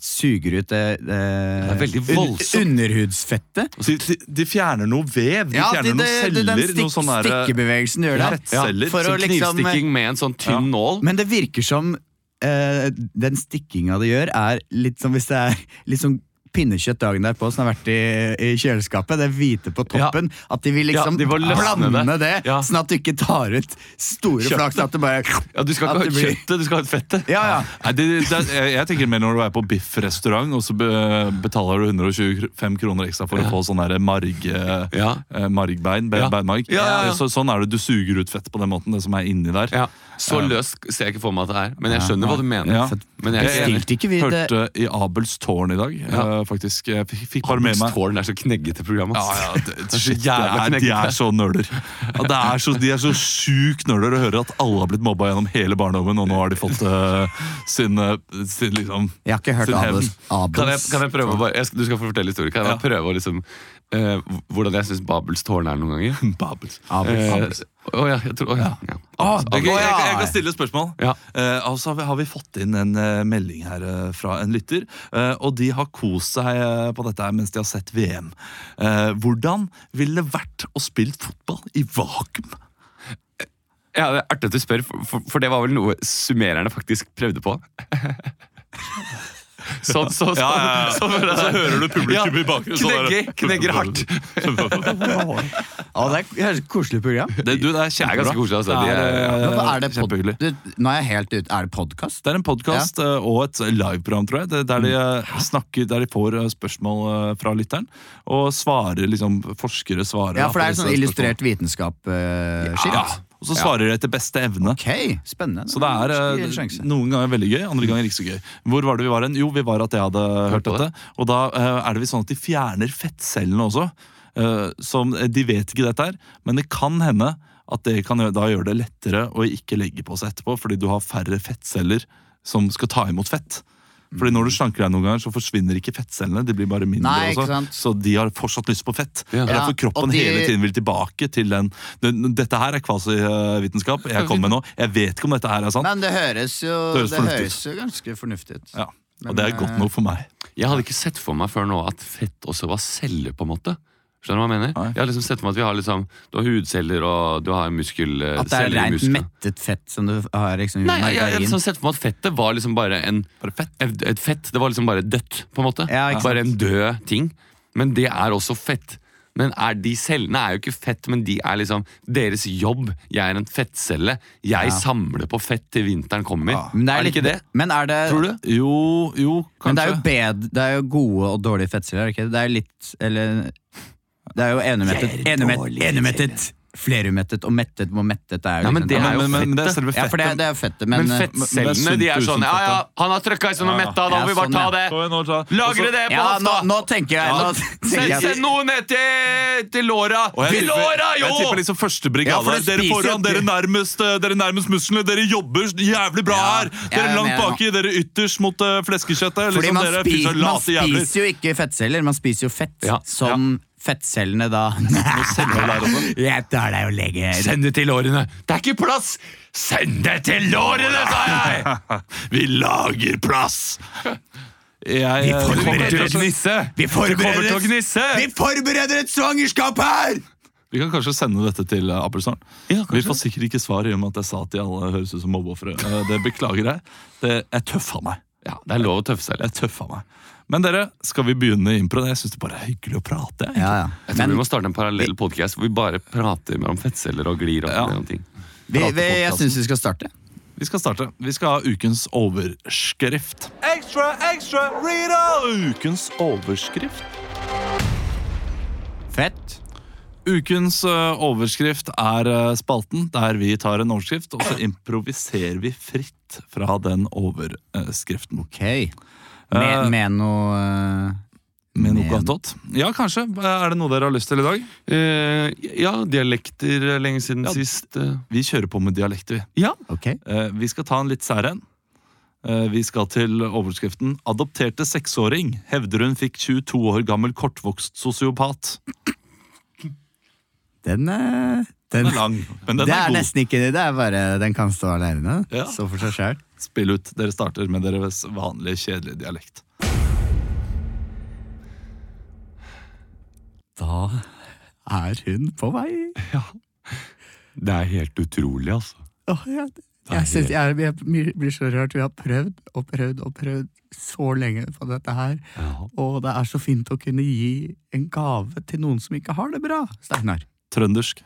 B: suger ut det, det,
C: Det er veldig voldsomt.
B: Un underhudsfettet.
A: De, de, de fjerner noe vev. De fjerner
B: det- det-
A: noen celler.
B: den stikk,
A: noe sånn der,
B: stikkebevegelsen de gjør
A: ja,
B: der.
A: fettceller.
B: for å
C: eh, Som
B: liksom,
C: knivstikking med en sånn tynn nål.
B: Men det virker som eh, den stikkinga de gjør, er litt som hvis det er litt sånn pinnekjøtt dagen derpå som har vært i, i kjøleskapet. Det hvite på toppen. At de vil liksom
C: Ja, de vil løsne
B: blande det,
C: det. Ja.
B: sånn at du ikke tar ut store
C: Kjøttet.
B: flaks. At det bare
C: Ja, Du skal
B: at det
C: ikke ha
B: blir-
C: kjøttet, du skal ha fettet.
B: Ja, ja.
A: Nei, det, det, jeg, jeg tenker mer når du er på biffrestaurant, og så be, betaler du 125 kroner ekstra for å få sånn der marg, eh,
C: Ja.
A: eh, margbein. Be,
C: Ja.
A: beinmarg.
C: Ja, ja, ja.
A: Så, sånn er det. Du suger ut fett på den måten, det som er inni der.
C: Ja. Så løst ser jeg ikke for meg at det er, men jeg skjønner hva du mener.
A: Ja.
C: Men jeg er enig.
B: Stilte ikke vi det
A: Hørte i Abels tårn i dag,
C: Ja.
A: eh, faktisk. Jeg fikk, fikk bare med meg
C: Tårn er så kneggete program.
A: Ja,
C: ass.
A: ja, det, det,
C: så
A: shit, det er,
C: jævla
A: de er så nøler. Ja, det er så, de er så sjukt nøler å høre at alle har blitt mobba gjennom hele barndommen, og nå har de fått eh, sin, eh, sin liksom
B: Jeg har ikke hørt
A: sin
B: Abels.
A: hevn.
B: Abels.
C: Kan jeg, kan jeg prøve å bare, jeg, skal- Du skal få fortelle historien. Kan jeg bare prøve å liksom eh, Hvordan jeg syns Babels tårn er noen ganger?
A: Babels.
B: Abels. Abels.
C: Eh, Å ja, jeg tror å, ja. Ja.
A: Ah,
C: Abels,
A: det er gøy.
C: Abels.
A: jeg, jeg kan stille et spørsmål.
C: Ja.
A: Eh, og så har vi, har vi fått inn en eh, melding her eh, fra en lytter. eh, og de har kost seg eh, på dette her mens de har sett VM. Eh, hvordan ville det vært å spille fotball i vakuum?
C: Ja, det er artig at du spør, for, for, for det var vel noe summererne faktisk prøvde på. Sånn, så, sånn, sånn,
A: Så hører du publikum i bakgrunnen. sånn der.
C: Knegger, knegger hardt.
B: Å, det er- det er et koselig program.
A: Det, du, det er
C: Det er
A: kjempebra.
C: ganske koselig. Altså.
A: Det
C: De
A: er,
C: er,
B: Nå er det pod
A: Kjempehyggelig.
B: du, nå er jeg helt ute. Er det podkast?
A: Det er en podkast og et liveprogram, tror jeg, det- der de, eh, snakker, der de får eh, spørsmål eh, fra lytteren. Og svarer, liksom, forskere svarer.
B: Ja,
A: da,
B: for
A: på
B: det er
A: disse
B: sånn illustrert
A: spørsmålene.
B: vitenskap-skitt.
A: Ja, Og så svarer de etter beste evne.
B: Ok, spennende.
A: Så det er eh,
B: Skikkelig sjanse.
A: noen ganger veldig gøy, andre ganger ikke så gøy. Hvor var det vi var hen? Jo, vi var at jeg hadde hørt
C: på
A: dette. Og da eh, er det visst sånn at de fjerner fettcellene også. eh, Som eh, de vet ikke dette her, men det kan hende at det kan gjø- da gjøre det lettere å ikke legge på seg etterpå, fordi du har færre fettceller som skal ta imot fett. Fordi når du slanker deg noen ganger, så forsvinner ikke fettcellene. De blir bare mindre
B: Nei, ikke
A: også.
B: sant?
A: Så de har fortsatt lyst på fett.
C: Ja.
A: Det er
B: Ja,
A: derfor kroppen
B: og de-
A: hele tiden vil tilbake til den, den Dette her er kvasivitenskap. Jeg kommer med nå. Jeg vet ikke om dette her er sant.
B: Men det høres jo,
A: Det høres
B: det
A: fornuftig ut.
B: høres jo ganske fornuftig ut.
A: Ja.
B: Men,
A: Og det er godt nok for meg.
C: Jeg hadde ikke sett for meg før nå at fett også var celler, på en måte. Skjønner du hva jeg mener?
A: Nei.
C: Jeg har liksom sett for meg at vi har liksom, du har hudceller og du har muskel,
B: At det er
C: celler i
B: rent
C: muskelen.
B: mettet fett som du har liksom, i
C: Nei, jeg, jeg, jeg
B: margarin.
C: liksom sett for meg at fettet var liksom bare en
A: Bare fett.
C: et, et fett. Det var liksom bare dødt, på en måte.
B: Ja, ikke sant.
C: bare en død ting. Men det er også fett. Men er de cellene er jo ikke fett, men de er liksom deres jobb. Jeg er en fettcelle. Jeg samler på fett til vinteren kommer.
B: Ah. Men det er,
C: er det
B: litt-
C: ikke det?
B: Men er det,
A: Tror du? Jo, jo, kanskje.
B: Men det er jo, bed, det er jo gode og dårlige fettceller, er det ikke? Det er litt Eller Det er jo enemettet. Enemet, enemettet! Flerumettet og mettet, hvor mettet er jo
C: Nei, men
B: liksom-
C: det
A: Ja,
C: er jo
A: men, men, men det er selve
B: Ja, for det er,
A: fettet.
B: det er fettet,
C: Men,
B: men, eh,
C: fettcellene
A: men det
C: de
A: er sunt
C: er sånn
A: usunn
C: Ja,
A: fett,
C: ja,
A: da.
C: han har trøkka i sånn og
A: Ja,
C: metta, da
B: ja,
C: må vi bare
B: sånn,
C: ta
B: ja.
C: det!
A: Kom igjen nå, ta.
C: Lagre det på
B: ja, nå,
C: hofta!
B: nå tenker jeg
A: Ja.
B: nå
C: Send,
B: tenker
C: send
B: jeg,
C: noe ned til, til låra!
A: Og jeg
C: Til
A: tipper,
C: låra, jo!
A: jeg tipper liksom første
B: Ja,
A: brigade.
B: for det
A: dere
B: spiser jo
A: foran,
B: ikke-
A: dere nærmest, eh, dere nærmest musklene. Dere jobber jævlig bra
B: Ja,
A: her!
B: jeg
A: Dere
B: er
A: langt
B: med nå.
A: baki, dere ytterst mot eh, fleskekjøttet.
B: Fordi
A: Liksom
B: man,
A: dere
B: spi-
A: fyser
B: man
A: late jævler.
B: spiser jo ikke fettceller, man spiser jo fett
C: Ja,
B: som fettcellene da Jeg tar deg og legger
C: Send det til lårene! Det er ikke plass! Send det til lårene, sa jeg!
A: Vi lager plass! Jeg,
B: Vi
A: eh,
B: forbereder
A: kommer til å
B: et
A: gnisse.
B: Vi
A: Det kommer til å
B: forbereder,
A: gnisse!
B: vi forbereder et svangerskap her!
A: Vi kan kanskje sende dette til eh, Appelsorn.
C: Ja, kanskje.
A: vi får sikkert ikke svar i og med at jeg sa at de alle høres ut som mobbeofre. Eh, Det beklager jeg. Det, jeg tøffa meg.
C: Ja, det er lov å tøffe seg litt.
A: Jeg tøffa meg. Men dere, skal vi begynne improen? Jeg syns det bare er hyggelig å prate. jeg.
B: Ja, ja.
C: Jeg tror
B: Men
C: vi må starte en parallell podcast hvor vi bare prater mellom fettceller og glir. opp
A: Ja.
C: i noen ting.
B: vi, vi, jeg syns vi skal starte.
A: Vi skal starte. Vi skal ha ukens overskrift. Ekstra, ekstra, Rita! Ukens overskrift.
B: Fett.
A: Ukens ø, overskrift er ø, spalten der vi tar en overskrift, og så improviserer vi fritt fra den overskriften.
B: Ok. Med, med noe eh,
A: Med noe
B: Men-
A: attåt? Ja, kanskje. Er det noe dere har lyst til i dag?
C: Eh, ja, dialekter er lenge siden sist. eh.
A: Vi kjører på med dialekter, vi.
B: Ok.
A: Eh, Vi skal ta en litt sær en. Eh, Vi skal til overskriften 'Adopterte seksåring hevder hun fikk 22 år gammel kortvokst sosiopat'.
B: Den eh, den,
A: Den er lang, men den
B: det
A: er
B: er
A: god.
B: nesten ikke det. Det er bare Den kan stå alene.
A: Ja.
B: Stå for seg sjøl.
A: Spill ut. Dere starter med deres vanlige, kjedelige dialekt.
B: Da er hun på vei.
C: Det er helt utrolig, altså.
B: Åh, ja. jeg, synes, jeg, er- jeg blir så rørt. Vi har prøvd og prøvd og prøvd så lenge på dette her. Og det er så fint å kunne gi en gave til noen som ikke har det bra. Steinar.
A: Trøndersk.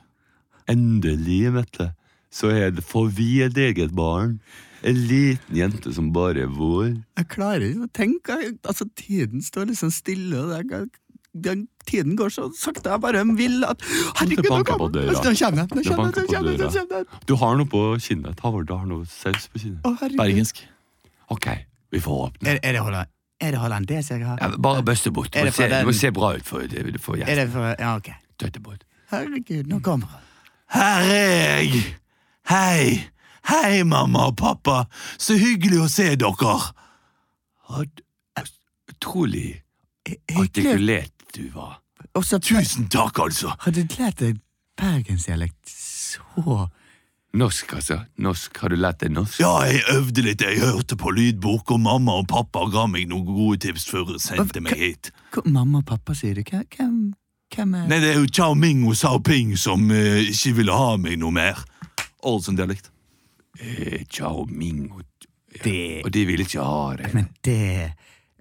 C: Endelig, Mette, så er det for vi et eget barn. En liten jente som bare er vår.
B: Jeg klarer ikke å tenke. jeg- Altså, tiden står liksom stille. og det er- den, tiden går så sakte. Jeg bare vil at Herregud, nå
C: banker
B: kommer
C: på døra.
B: Altså, Nå kommer den! Nå kommer
C: Det
B: den!
C: banker
B: Nå
C: på
B: kommer den! Nå
C: døra.
B: kommer den!
C: Du har noe på kinnet. Havar, du har noe saus på kinnet.
B: Å, herregud.
A: Bergensk.
C: Ok, vi får åpne.
B: Er, er det Holland? Er det hollandes jeg har?
C: Ja, bare bøste bort.
B: Er det
C: Det må se,
B: fra
C: det må
B: den-
C: se bra ut for, for
B: Er
C: gjesten.
B: det for Ja, ok.
C: Tøtte bort.
B: Herregud, nå kommer den.
A: Her er jeg! Hei! Hei, mamma og pappa! Så hyggelig å se dere!
C: Had- eh, Utrolig
B: Hyggelig.
C: artikulert du var.
B: Og så
A: Tusen takk, altså!
B: har du lært deg bergensdialekt så
C: Norsk, altså. Norsk. Har du lært deg norsk?
A: Ja, jeg øvde litt. Jeg hørte på lydbok, og mamma og pappa ga meg noen gode tips før de sendte meg hit.
B: Hva- Mamma og pappa sier det. Hva- Hvem Hvem er
A: Nei, det er jo Chao Ming og Sao Ping som eh, ikke ville ha meg noe mer. Ålesund-dialekt.
C: Eh, Chao Ming og,
B: det?
C: og de ville ikke ha det.
B: Men det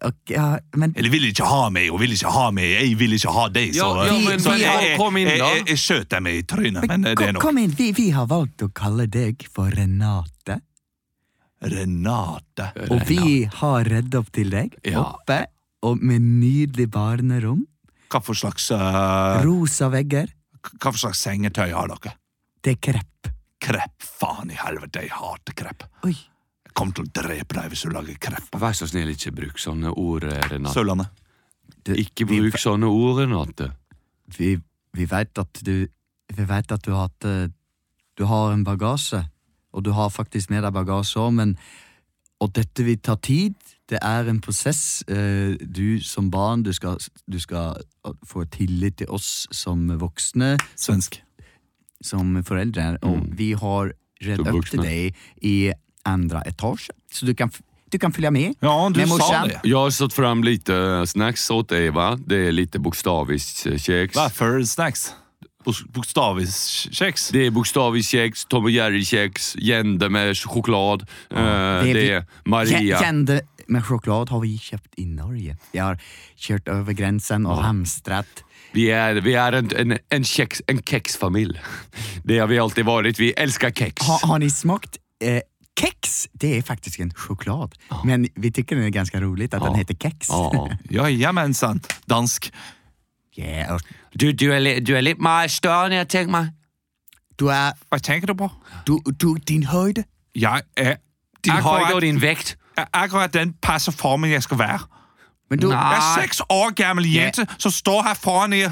B: Ok, ja, men
A: Eller ville ikke ha meg, og ville ikke ha meg, jeg ville ikke ha deg, så,
C: Ja, ja, men-
A: så
C: men-
A: jeg,
C: kom inn,
A: jeg,
C: da.
A: jeg, jeg skjøt deg med i trynet, men eh, det er
B: Kom,
A: nok.
B: kom inn, vi, vi har valgt å kalle deg for Renate.
A: Renate.
B: Og vi har redda opp til deg,
C: Ja.
B: oppe, og med nydelig barnerom.
A: Hva for slags, eh,
B: Rosa vegger.
A: hva for slags sengetøy har dere?
B: Det er krepp.
A: Krepp, faen i helvete, jeg hater krepp.
B: Oi.
A: Jeg kommer til å drepe deg hvis du lager krepp.
C: Vær så snill, ikke bruk sånne ord, eh, Renate.
A: Sørlandet.
C: Ikke bruk sånne ord, Renate.
B: Vi, vi veit at du Vi vet at du har hatt eh, Du har en bagasje, og du har faktisk med deg bagasje òg, men Og dette vil ta tid. Det er en prosess. eh, Du som barn, du skal, du skal eh, få tillit til oss som voksne,
A: Svensk.
B: som foreldre. Og vi har redd
C: Mm. Som
B: opp til
C: voksne.
B: deg i andre etasje, så du kan, f- du kan følge med.
A: Ja, du
B: Men
A: sa
B: morsan-
A: det.
C: Jag har satt fram lite eh, snacks åt dig va? Det är lite eh, bokstaviskt kex.
A: Vaffer snacks. Bok- Bokstaviskjeks.
C: Det är bokstaviskt kex, Tom och Jerry kex, Jände med choklad. eh,
B: det är
C: det
B: vi-
C: är
B: Jeg
C: Maria.
B: kjente Men sjokolade har vi kjøpt i Norge. Jeg har kjørt over grensen og hamstret.
C: Vi är, vi är en, en, en, kex, en kexfamilj. Det har vi alltid varit. Vi älskar kex.
B: Ha, har ni smakt eh, keks? Det er faktisk en sjokolad, men vi tycker den er ganske rolig at den heter keks.
C: Ja.
A: Jajamensan. Dansk.
B: Yeah.
C: Du, du, är, li- du är lite mer större än jag tänker mig.
B: Du, er,
A: Hva tenker du på?
B: du, du Din høyde
A: Jeg er
C: Din höjd och
A: akkurat,
C: din väkt.
A: akkurat den passer formen jeg skal være.
B: Men du,
C: Nei.
A: Jeg er seks år gammel jente som står her foran jer.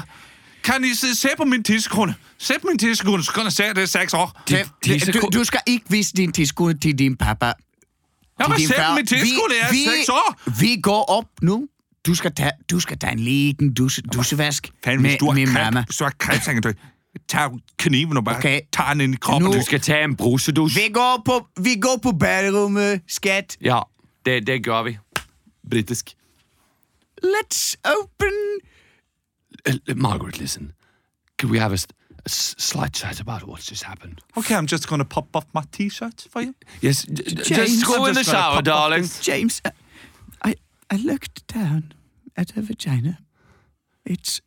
A: Kan I se, se på min tissekone? Se på min tissekone, så kan I se, at det er seks år.
B: Tre-
C: tisse-
B: eh, du, du skal ikke vise din tidskone til din pappa.
A: Ja, men
B: din
A: se på
B: far.
A: min tissekone, jeg er seks år!
B: vi går opp nå. Du skal ta, du skal ta en liten dus, dusevask
A: Fanden, hvis
B: med,
A: du har
B: med
A: kræft,
B: mamma.
A: hvis du har kræft, så kan du tage kniven og bare
B: Okay.
A: tage den ind i kroppen.
B: Nu-
C: Du ska ta en brusedus.
B: Vi går på, vi går på baderommet, skatt.
C: Ja, det, det gör vi. Brittisk.
B: Let's open
C: Uh, Margaret, listen. Could we have a, s- a s- slight chat about what's just happened?
A: Okay, I'm just gonna pop off my t-shirt for you.
C: Yes, d- d-
B: James,
C: just go
A: I'm
C: in the
A: just gonna pop
C: shower,
A: off
C: darling.
A: this-
B: James, uh, I, I looked down at her vagina. It's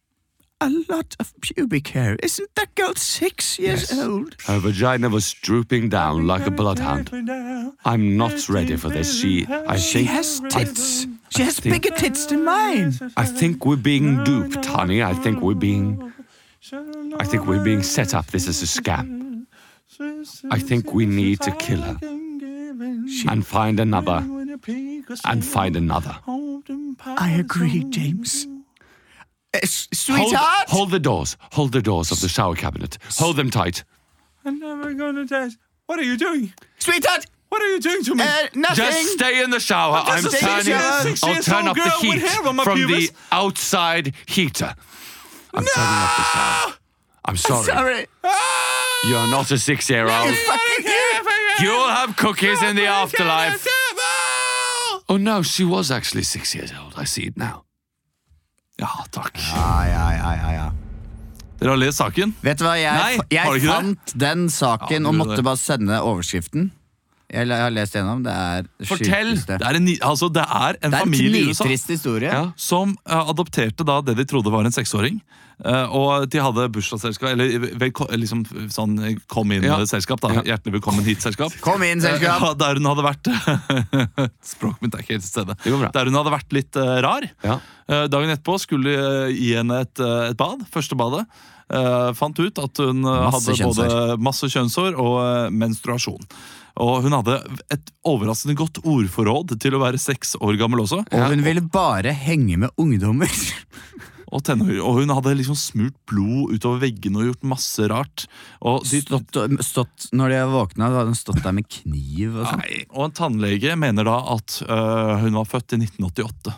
B: a lot of pubic hair. Isn't that girl six years old?
C: Her vagina was drooping down like a bloodhound. I'm not ready for this. She, I
B: She
C: think,
B: has
C: I-
B: tits. She has
C: think-
B: bigger tits than mine.
C: I think we're being duped, honey. I think we're being, I think we're being set up. This is a scam. I think we need to kill her and find another and find another.
B: I agree, James. Uh, s-
C: Hold,
B: sweetheart!
C: hold the doors. Hold the doors of the shower cabinet. Hold them tight.
A: I'm never gonna dance. What are you doing?
B: Sweetheart!
A: What are you doing to me?
B: Uh, nothing!
C: Just stay in the shower. I'm
B: just a six
C: turning.
B: year-
A: six
C: I'll
A: years
C: turn
A: old
C: up the
A: girl with
C: heat
A: hair on my
C: from the
A: pubis.
C: outside heater. I'm turning up the shower. I'm sorry.
B: Sorry.
C: You're not a six-year-old.
B: Fucking
C: You'll have cookies in the afterlife. Oh no, she was actually six years old. I see it now.
A: Ja, takk.
B: Ai, ai, ai, ai, ai.
A: Dere har lest saken?
B: Vet du hva, jeg,
A: Nei, har du
B: jeg
A: ikke det?
B: fant den saken
A: Ja,
B: og
A: du
B: måtte
A: det.
B: bare sende overskriften. Jeg, la- jeg har lest gjennom. Det er det
C: Fortell!
B: sjukeste.
A: Det er en, ni- altså, det er en
B: Det er en
A: familie i USA
B: nitrist historie.
C: Ja.
A: som eh, adopterte da det de trodde var en seksåring. Eh, og de hadde bursdagsselskap, eller velko- liksom sånn eh, kom
C: Ja.
A: inn-selskap. da,
C: Ja.
A: Hjertelig velkommen hit-selskap.
B: Kom inn, selskap!
A: Ja, der hun hadde vært Språket mitt er ikke helt til stede.
C: går bra.
A: Der hun hadde vært litt eh, rar.
C: Ja.
A: Eh, dagen etterpå skulle jeg gi henne et, eh, et bad. Første badet. Eh, fant ut at hun eh,
B: Masse
A: hadde både
B: kjønnshår.
A: masse kjønnshår og eh, menstruasjon. Og hun hadde et overraskende godt ordforråd til å være seks år gammel også.
B: Og hun ville bare henge med ungdommer.
A: Og, tenår, og hun hadde liksom smurt blod utover veggene og gjort masse rart. Og de,
B: Stått, stått, når de våkna, hadde hun stått der med kniv og sånn.
A: Nei, og en tannlege mener da at øh, hun var født i 1988.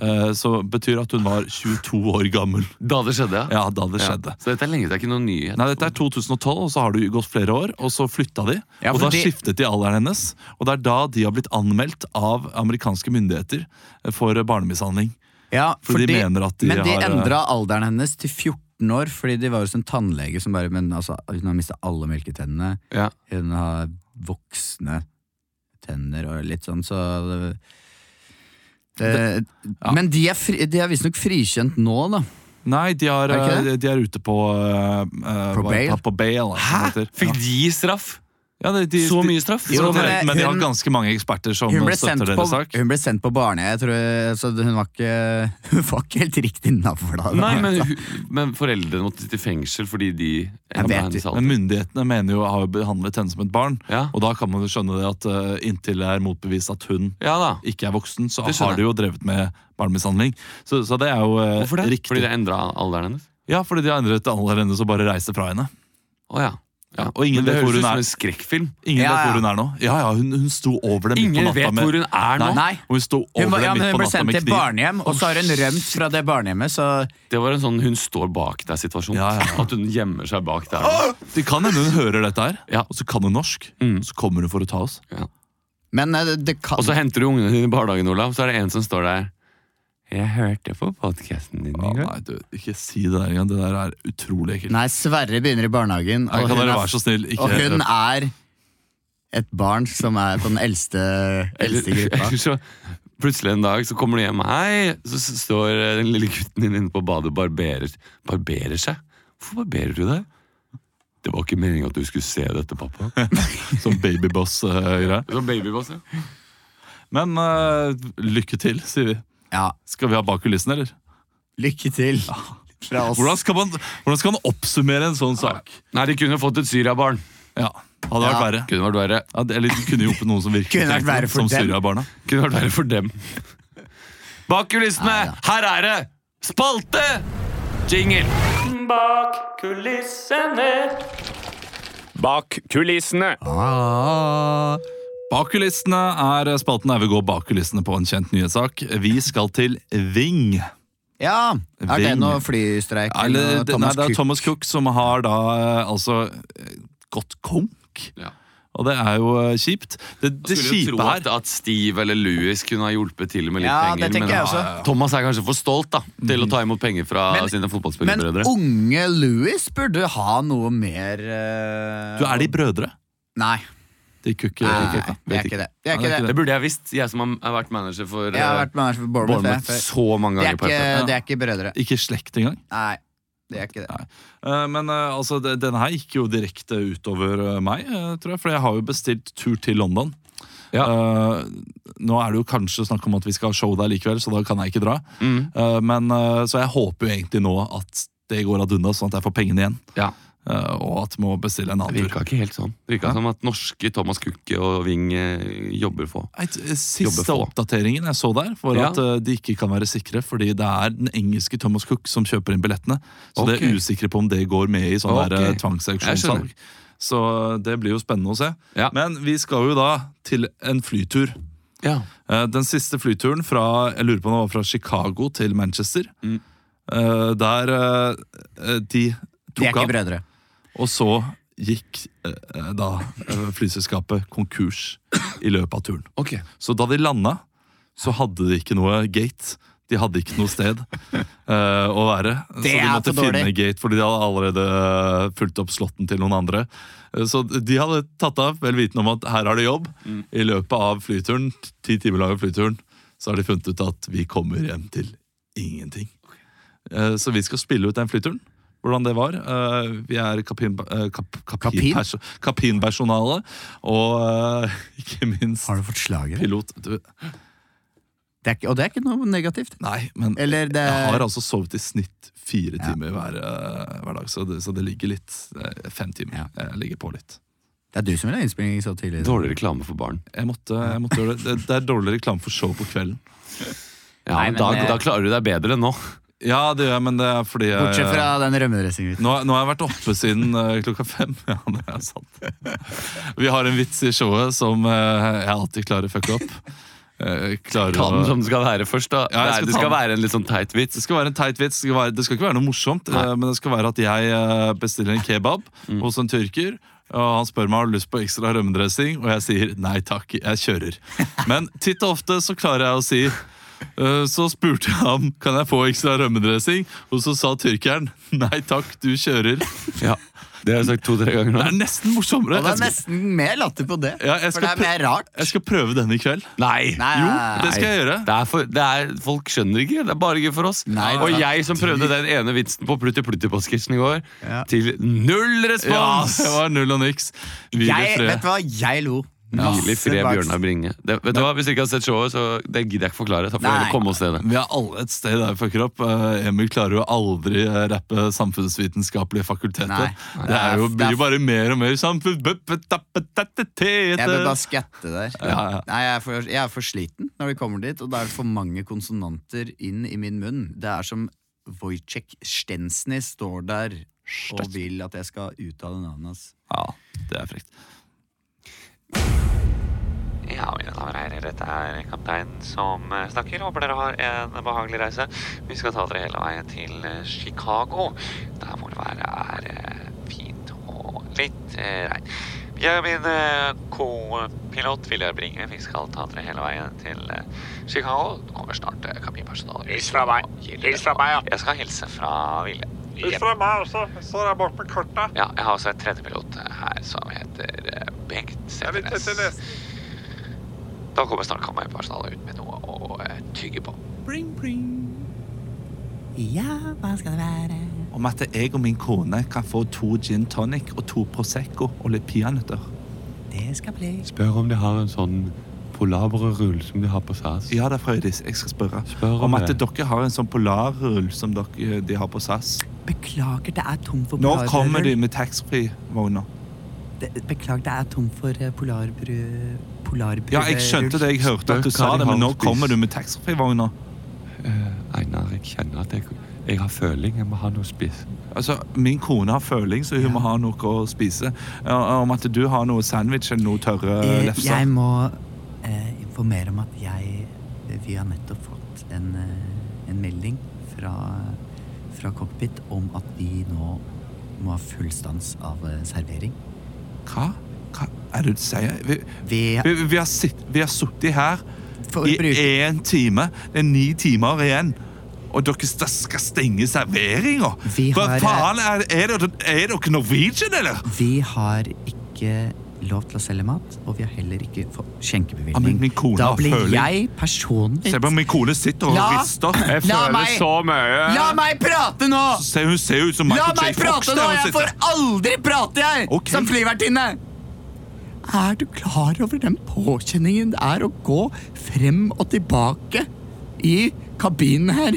A: Eh, så betyr at hun var 22 år gammel
C: Da det skjedde,
A: ja, da det skjedde.
C: Så dette er lenge, det er ikke noen nyhet.
A: Nei, Dette er 2012, og så har det jo gått flere år. Og så flytta de,
B: Ja,
A: og da
B: fordi-
A: skiftet de alderen hennes. Og det er da de har blitt anmeldt av amerikanske myndigheter øh, for barnemishandling.
B: Ja,
A: For de
B: fordi-
A: mener at de
B: men de
A: har, eh,
B: endra alderen hennes til 14 år, fordi de var hos en tannlege som bare Men altså, hun har mista alle melketennene.
C: Ja.
B: Hun har voksne tenner og litt sånn, så det, det, Men de er, fri- de er visstnok frikjent nå, da.
A: Nei, de er,
B: Er det ikke
A: eh, de er ute på eh, eh,
B: På
A: hva-
B: bail?
A: På bail altså, som det heter.
C: Fikk de straff?
A: ja, de, de,
C: Så mye straff?
A: De,
B: Jo, men
A: men de har
B: hun-
A: ganske mange eksperter som
B: Hun ble sendt
A: støtter
B: på,
A: deres sak.
B: hun ble sendt på barnehjem, jeg tror, så hun var ikke, hun var ikke helt riktig navla. da.
C: Nei, men, hu- men foreldrene måtte sitte i fengsel fordi de
B: Jeg vet ikke.
A: Men myndighetene mener jo har jo behandlet henne som et barn,
C: Ja.
A: og da kan man jo skjønne det at eh, inntil det er motbevist at hun
C: Ja da.
A: ikke er voksen, så
C: Det
A: har
C: skjønner
A: de jo drevet med barnemishandling. Så, så det er jo eh,
C: Hvorfor det?
A: riktig.
C: Fordi det endra alderen hennes?
A: Ja, fordi de har endret alle hennes og bare reiser fra henne.
C: Å ja.
A: Ja, og ingen
C: Men det
A: vet hvor
C: høres ut
A: hun
C: som
A: er.
C: en skrekkfilm.
A: Ingen
B: Ja,
A: vet
B: ja.
A: hvor hun er nå. Ja, ja, hun, hun sto over det midt på
C: Ingen
A: natta.
C: vet
A: med-
C: hvor hun er nå.
A: Nei,
B: Nei.
A: Og hun sto over
B: Hun, var- ja,
A: det
B: men
A: midt
B: hun
A: på
B: ble
A: natta
B: sendt
A: med
B: til
A: kniv.
B: barnehjem, og så har hun rømt fra det barnehjemmet, så
C: Det var en sånn hun står bak deg-situasjon.
A: Ja, ja, ja.
C: At hun gjemmer seg bak der.
A: Det kan hende hun hører dette her,
C: Ja.
A: og så kan hun norsk.
C: Mm.
A: Og så kommer hun for å ta oss.
B: Men eh, det- det kan
C: Og så henter du ungene dine i barnehagen, Olav, så er det en som står der. Jeg hørte på podkasten din i går.
A: nei, du, ikke si det der engang. Det der er utrolig ekkelt.
B: Nei, Sverre begynner i barnehagen,
A: Nei,
B: og
A: kan
B: hun,
A: dere
B: er,
A: være så snill ikke
B: og hun er et barn som er på den eldste, eldste
C: Eller,
B: gruppa.
C: eller så plutselig en dag så kommer du hjem, hei, så s- står eh, den lille gutten din inne på badet og barberer, barberer seg. Hvorfor barberer du deg? Det var ikke meningen at du skulle se dette, pappa.
A: Sånn babyboss-greie.
C: Det var babyboss, ja.
A: Men eh, lykke til, sier vi.
B: Ja,
A: Skal vi ha bak kulissene, eller?
B: lykke til fra oss.
A: Hvordan skal, man, hvordan skal man oppsummere en sånn sak?
C: Nei, de kunne fått et syriabarn.
A: Ja, Hadde vært
B: Ja.
A: verre.
C: Kunne vært verre.
A: Ja, det- eller du kunne hjulpet noen som virkelig
B: Kunne vært
A: trengte
B: verre
A: det,
B: for
A: som
B: dem.
A: Syria-barna.
C: Kunne vært verre for dem. Bak kulissene,
B: Nei, ja.
C: her er det spalte! Jingle.
D: Bak kulissene.
B: Ah.
A: Bak kulissene er spalten der vi går bak kulissene på en kjent nyhetssak. Vi skal til Ving.
B: Ja, Er det
A: Ving.
B: noe flystreik?
A: Eller,
B: Eller,
A: det, nei,
B: Thomas
A: det er
B: Cook?
A: Thomas Cook som har da eh, altså eh, gått konk.
C: Ja.
A: Og det er jo eh, kjipt. Det, det
C: Skulle jo
A: kjipe
C: tro
A: her
C: at, at Steve eller Louis kunne ha hjulpet til med litt
B: Ja,
C: penger.
B: det tenker
C: men eh,
B: jeg også.
C: Thomas er kanskje for stolt da til å ta imot penger fra
B: Men-
C: sine
B: Men
C: fotballspillerbrødre.
B: unge Louis burde ha noe mer eh,
A: Du, Er de brødre?
B: Nei,
A: De Cook
B: nei,
A: eh,
B: det er ikke det. Det
A: Nei, det
B: er ikke
A: er ikke
B: det.
C: Det burde jeg visst, jeg som har har vært manager for
B: Jeg har
C: eh,
B: vært med for Bournemouth. jeg,
C: Bournemouth
B: før.
C: så mange
B: Det er
C: ganger. på
B: ikke,
C: FN.
B: det er ikke brødre.
A: Ikke slekt engang.
B: Nei, det er ikke det.
A: Nei. Eh, Men eh, altså, det- denne her gikk jo direkte utover eh, meg, eh, tror jeg. For jeg har jo bestilt tur til London. Eh, nå er det jo kanskje snakk om at vi skal ha show der likevel, så da kan jeg ikke dra.
C: Mm.
A: Eh, men, eh, så jeg håper jo egentlig nå at det går ad unna, sånn at jeg får pengene igjen.
C: Ja.
A: Eh, og at jeg må bestille en
C: Det
A: annen tur.
C: virka ikke helt sånn. Det virka
A: Ja.
C: som at norske Thomas Cook og Wing eh, jobber få.
A: Nei, t- Siste
C: Jobber få.
A: oppdateringen jeg så der, var
C: Ja.
A: at eh, de ikke kan være sikre, fordi det er den engelske Thomas Cook som kjøper inn billettene. Så det
C: Ok.
A: er usikre på om det går med i sånn
C: Ok.
A: okay.
C: Jeg skjønner.
A: tvangsauksjonssalg. Så eh, det blir jo spennende å se.
C: Ja.
A: Men vi skal jo da til en flytur. Eh, Den siste flyturen fra jeg lurer på om det var fra Chicago til Manchester,
C: Mm.
A: eh, der eh, de
B: De er
A: tok
B: ikke
A: av,
B: brødre.
A: og så gikk eh, da eh, flyselskapet konkurs i løpet av turen.
C: Ok.
A: Så da de landa, så hadde de ikke noe gate. De hadde ikke noe sted eh, å være.
B: Det
A: så de
B: er
A: måtte
B: for dårlig.
A: finne gate, fordi de hadde allerede eh, fulgt opp slotten til noen andre. Eh, Så de hadde tatt av, vel vitende om at her har de jobb.
B: Mm.
A: I løpet av flyturen, ti timer lange flyturen, så har de funnet ut at vi kommer hjem til ingenting. Eh, så vi skal spille ut den flyturen. Hvordan det var. Eh, vi er kapin, eh, kap, kapin,
B: Kapin?
C: Kapin?
A: kapinpersonalet, og eh, ikke minst
B: Har du fått slaget?
A: pilot. Du,
B: Det er ikke, og det er ikke noe negativt.
A: Nei, men
B: Eller det
A: jeg har
B: er
A: altså sovet i snitt fire timer hver, eh, hver dag, så det, så det ligger litt eh, Fem timer.
B: Ja.
A: Jeg ligger på litt.
B: Det er du som vil ha innspilling så tidlig.
C: Dårlig reklame for barn.
A: Jeg måtte, jeg måtte gjøre det. det. Det er dårlig reklame for show på kvelden.
C: Ja,
B: Nei,
C: men eh,
B: men
C: da,
B: det-
C: da klarer du deg bedre enn nå.
A: Ja, det gjør jeg, men det er fordi jeg,
B: Bortsett fra den rømmedressingen.
A: nå, nå har jeg vært oppe siden eh, klokka fem. Ja, det er sant. Vi har en vits i showet som eh, jeg alltid klarer å fucke opp. Eh, klarer
C: Ta
A: å-
C: den som den skal være først, da.
A: Ja, jeg skal
C: det, er, det
A: ta
C: skal
A: den.
C: være en litt sånn teit
A: Det
C: vits.
A: skal være en teit vits. Det skal, være, det skal ikke være noe morsomt, eh, men det skal være at jeg eh, bestiller en kebab hos en tyrker. Og han spør meg om jeg har lyst på ekstra rømmedressing, og jeg sier nei takk, jeg kjører. Men titt og ofte så klarer jeg å si eh, så spurte jeg ham kan jeg få ekstra rømmedressing, og så sa tyrkeren nei takk, du kjører.
C: Ja, Det har jeg sagt to-tre ganger nå.
A: Det er nesten morsommere.
B: Og det er
A: Jeg skal,
B: nesten mer latter på det.
A: Ja, jeg
B: for
A: skal
B: det er mer rart.
A: jeg skal prøve den i kveld.
C: Nei!
B: Nei,
A: Jo,
B: nei,
A: det skal jeg gjøre.
C: Det er for, det er, folk skjønner ikke. Det er bare gøy for oss.
B: Nei,
C: og
B: det er-
C: jeg som prøvde den ene vitsen på Plutti Plutti Podsketsjen i går,
B: Ja.
C: til null
A: Ja,
C: respons!
A: det var null og niks. Hvil i
B: nei. Jeg,
A: fred.
B: vet du hva, jeg lo.
C: Hvil i fred,
B: bak-
C: Bjørnar Bringe. Det, vet du hva, Hvis dere ikke har sett showet, så det gidder jeg ikke forklare. Da får
B: Nei.
C: dere komme oss til det.
A: Vi har alle et sted der vi fucker opp. Eh, Emil klarer jo aldri eh, rappe Samfunnsvitenskapelige fakulteter.
B: Nei.
A: Det
B: Nei,
A: er jo,
B: det er-
A: blir jo bare mer og mer samfunn... bup, bup, tap, tap, tap,
B: Jeg bør bare
A: tete.
B: skatte der.
A: Ja, ja.
B: Nei, jeg er, for, jeg er for sliten når vi kommer dit, og da er det for mange konsonanter inn i min munn. Det er som Wojciech Stensny står der og vil at jeg skal uttale navnet hans.
A: Ja, det er frekt.
D: Ja, mine damer og herrer, dette er kaptein som eh, snakker. Håper dere har en behagelig reise. Vi skal ta dere hele veien til eh, Chicago, der hvor været er eh, fint og litt eh, regn. Jeg og min eh, co-pilot Viljar Bringe, vi skal ta dere hele veien til eh, Chicago. Nå kommer snart eh, kabinpersonalet. Hils fra meg. Hils fra meg, ja. Jeg skal hilse fra Viljar. Hils fra meg også. Står der bak med kortet. Ja, jeg har også en tredjepilot eh, her som heter eh, Bengt Setternes. Da kommer snart kammerpersonalet ut med noe å eh, tygge på.
B: Ja, hva skal det være?
A: Om at jeg og min kone kan få to gin tonic og to Prosecco og litt peanøtter.
B: Det skal bli
C: Spør om de har en sånn polarbrødrull som de har på SAS.
A: Ja da, Frøydis, jeg skal spørre.
C: Spør om
A: om at
C: det.
A: dere har en sånn polarrull som dere, de har på SAS.
B: Beklager, det er tom for
A: Nå
B: polarbrød.
A: kommer de med taxfree-vogner.
B: Det- Beklager, det er tom for eh, polarbrød polarbrød-
A: Ja, jeg skjønte det, jeg hørte at du
C: Spør
A: sa
C: hva de
A: det, men
C: har
A: nå
C: spist.
A: kommer du med taxfree-vogner.
C: Einar, jeg kjenner at jeg, jeg har føling. Jeg må ha noe å spise.
A: Altså, min kone har føling, så hun må ha noe å spise. Ja, Om at du har noe sandwich eller noe tørre
B: Eh, Jeg
A: lefser.
B: må eh, informere om at jeg Vi har nettopp fått en, eh, en melding fra, fra cockpit om at vi nå må ha full stans av eh, servering.
A: Hva? Hva er det du sier? Vi,
B: Vi
A: vi, vi har sitt- vi har sittet her i
B: forbruker
A: én time. Det er ni timer igjen. Og dere sta- skal stenge serveringa?
B: Vi
A: Hva
B: har-
A: faen? Er, er, dere, er dere Norwegian, eller?
B: Vi har ikke lov til å selge mat, og vi har heller ikke fått
A: Ja, men
B: skjenkebevilgning.
A: min kone
B: da
A: har
B: blir
A: føling.
B: jeg personlig
A: Se på min kone sitter og
B: La-
A: rister.
C: Jeg
B: La
C: føler
B: meg-
C: så mye.
B: La meg prate nå!
A: Se, hun ser ut som
B: La
A: Michael
B: meg
A: J. Fox.
B: prate
A: der
B: nå!
A: hun
B: Jeg
A: sitter.
B: får aldri prate, jeg!
A: Ok.
B: Som flyvertinne! Er du klar over den påkjenningen det er å gå frem og tilbake i kabinen her?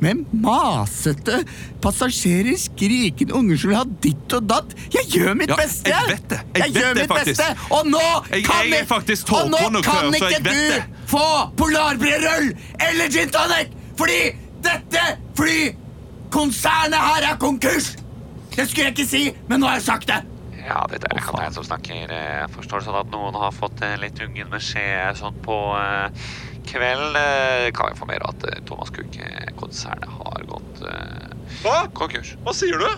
B: Med masete passasjerer, skrikende unger som vil ha ditt og datt. Jeg gjør mitt
A: Ja,
B: beste!
A: jeg vet det. Jeg vet
B: gjør
A: det
B: mitt
A: faktisk.
B: beste! Og nå
A: Jeg-
B: kan,
A: jeg er
B: ikk-
A: faktisk
B: og nå
A: togkonduktør, så
B: kan
A: jeg
B: ikke
A: vet det.
B: du få polarbrødrull eller gin tonic! Fordi dette flykonsernet her er konkurs! Det skulle jeg ikke si, men nå har jeg sagt det.
D: Ja, dette er kapteinen som snakker. Eh, Jeg forstår det sånn at noen har fått eh, litt ungen beskjed sånn på eh, kvelden. Eh, Kan jeg informere at eh, Thomas Cook-konsernet har gått eh,
E: Hva?
D: konkurs.
E: Hva sier du?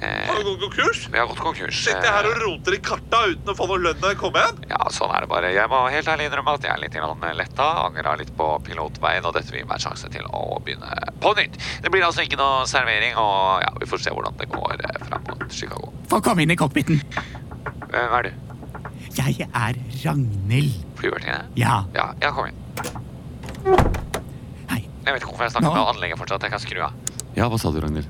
D: Eh,
E: Har du gått konkurs?
D: Vi har gått konkurs.
E: Sitter jeg her
D: Eh,
E: og roter i karta uten å få noe lønn når jeg kommer hjem?
D: Ja, sånn er det bare. Jeg må helt ærlig innrømme at jeg er litt grann letta. Angra litt på pilotveien, og dette vil gi meg en sjanse til å begynne på nytt. Det blir altså ikke noe servering, og ja, vi får se hvordan det går eh, fram mot Chicago.
B: Få komme inn i cockpiten.
D: Hvem er du?
B: Jeg er Ragnhild.
D: Flyvertinne?
B: Ja,
D: Ja, ja, kom igjen.
B: hei.
D: Jeg vet ikke hvorfor jeg snakker
B: Nå.
D: med anlegget fortsatt. Jeg kan skru av.
C: Ja, hva sa du, Ragnhild?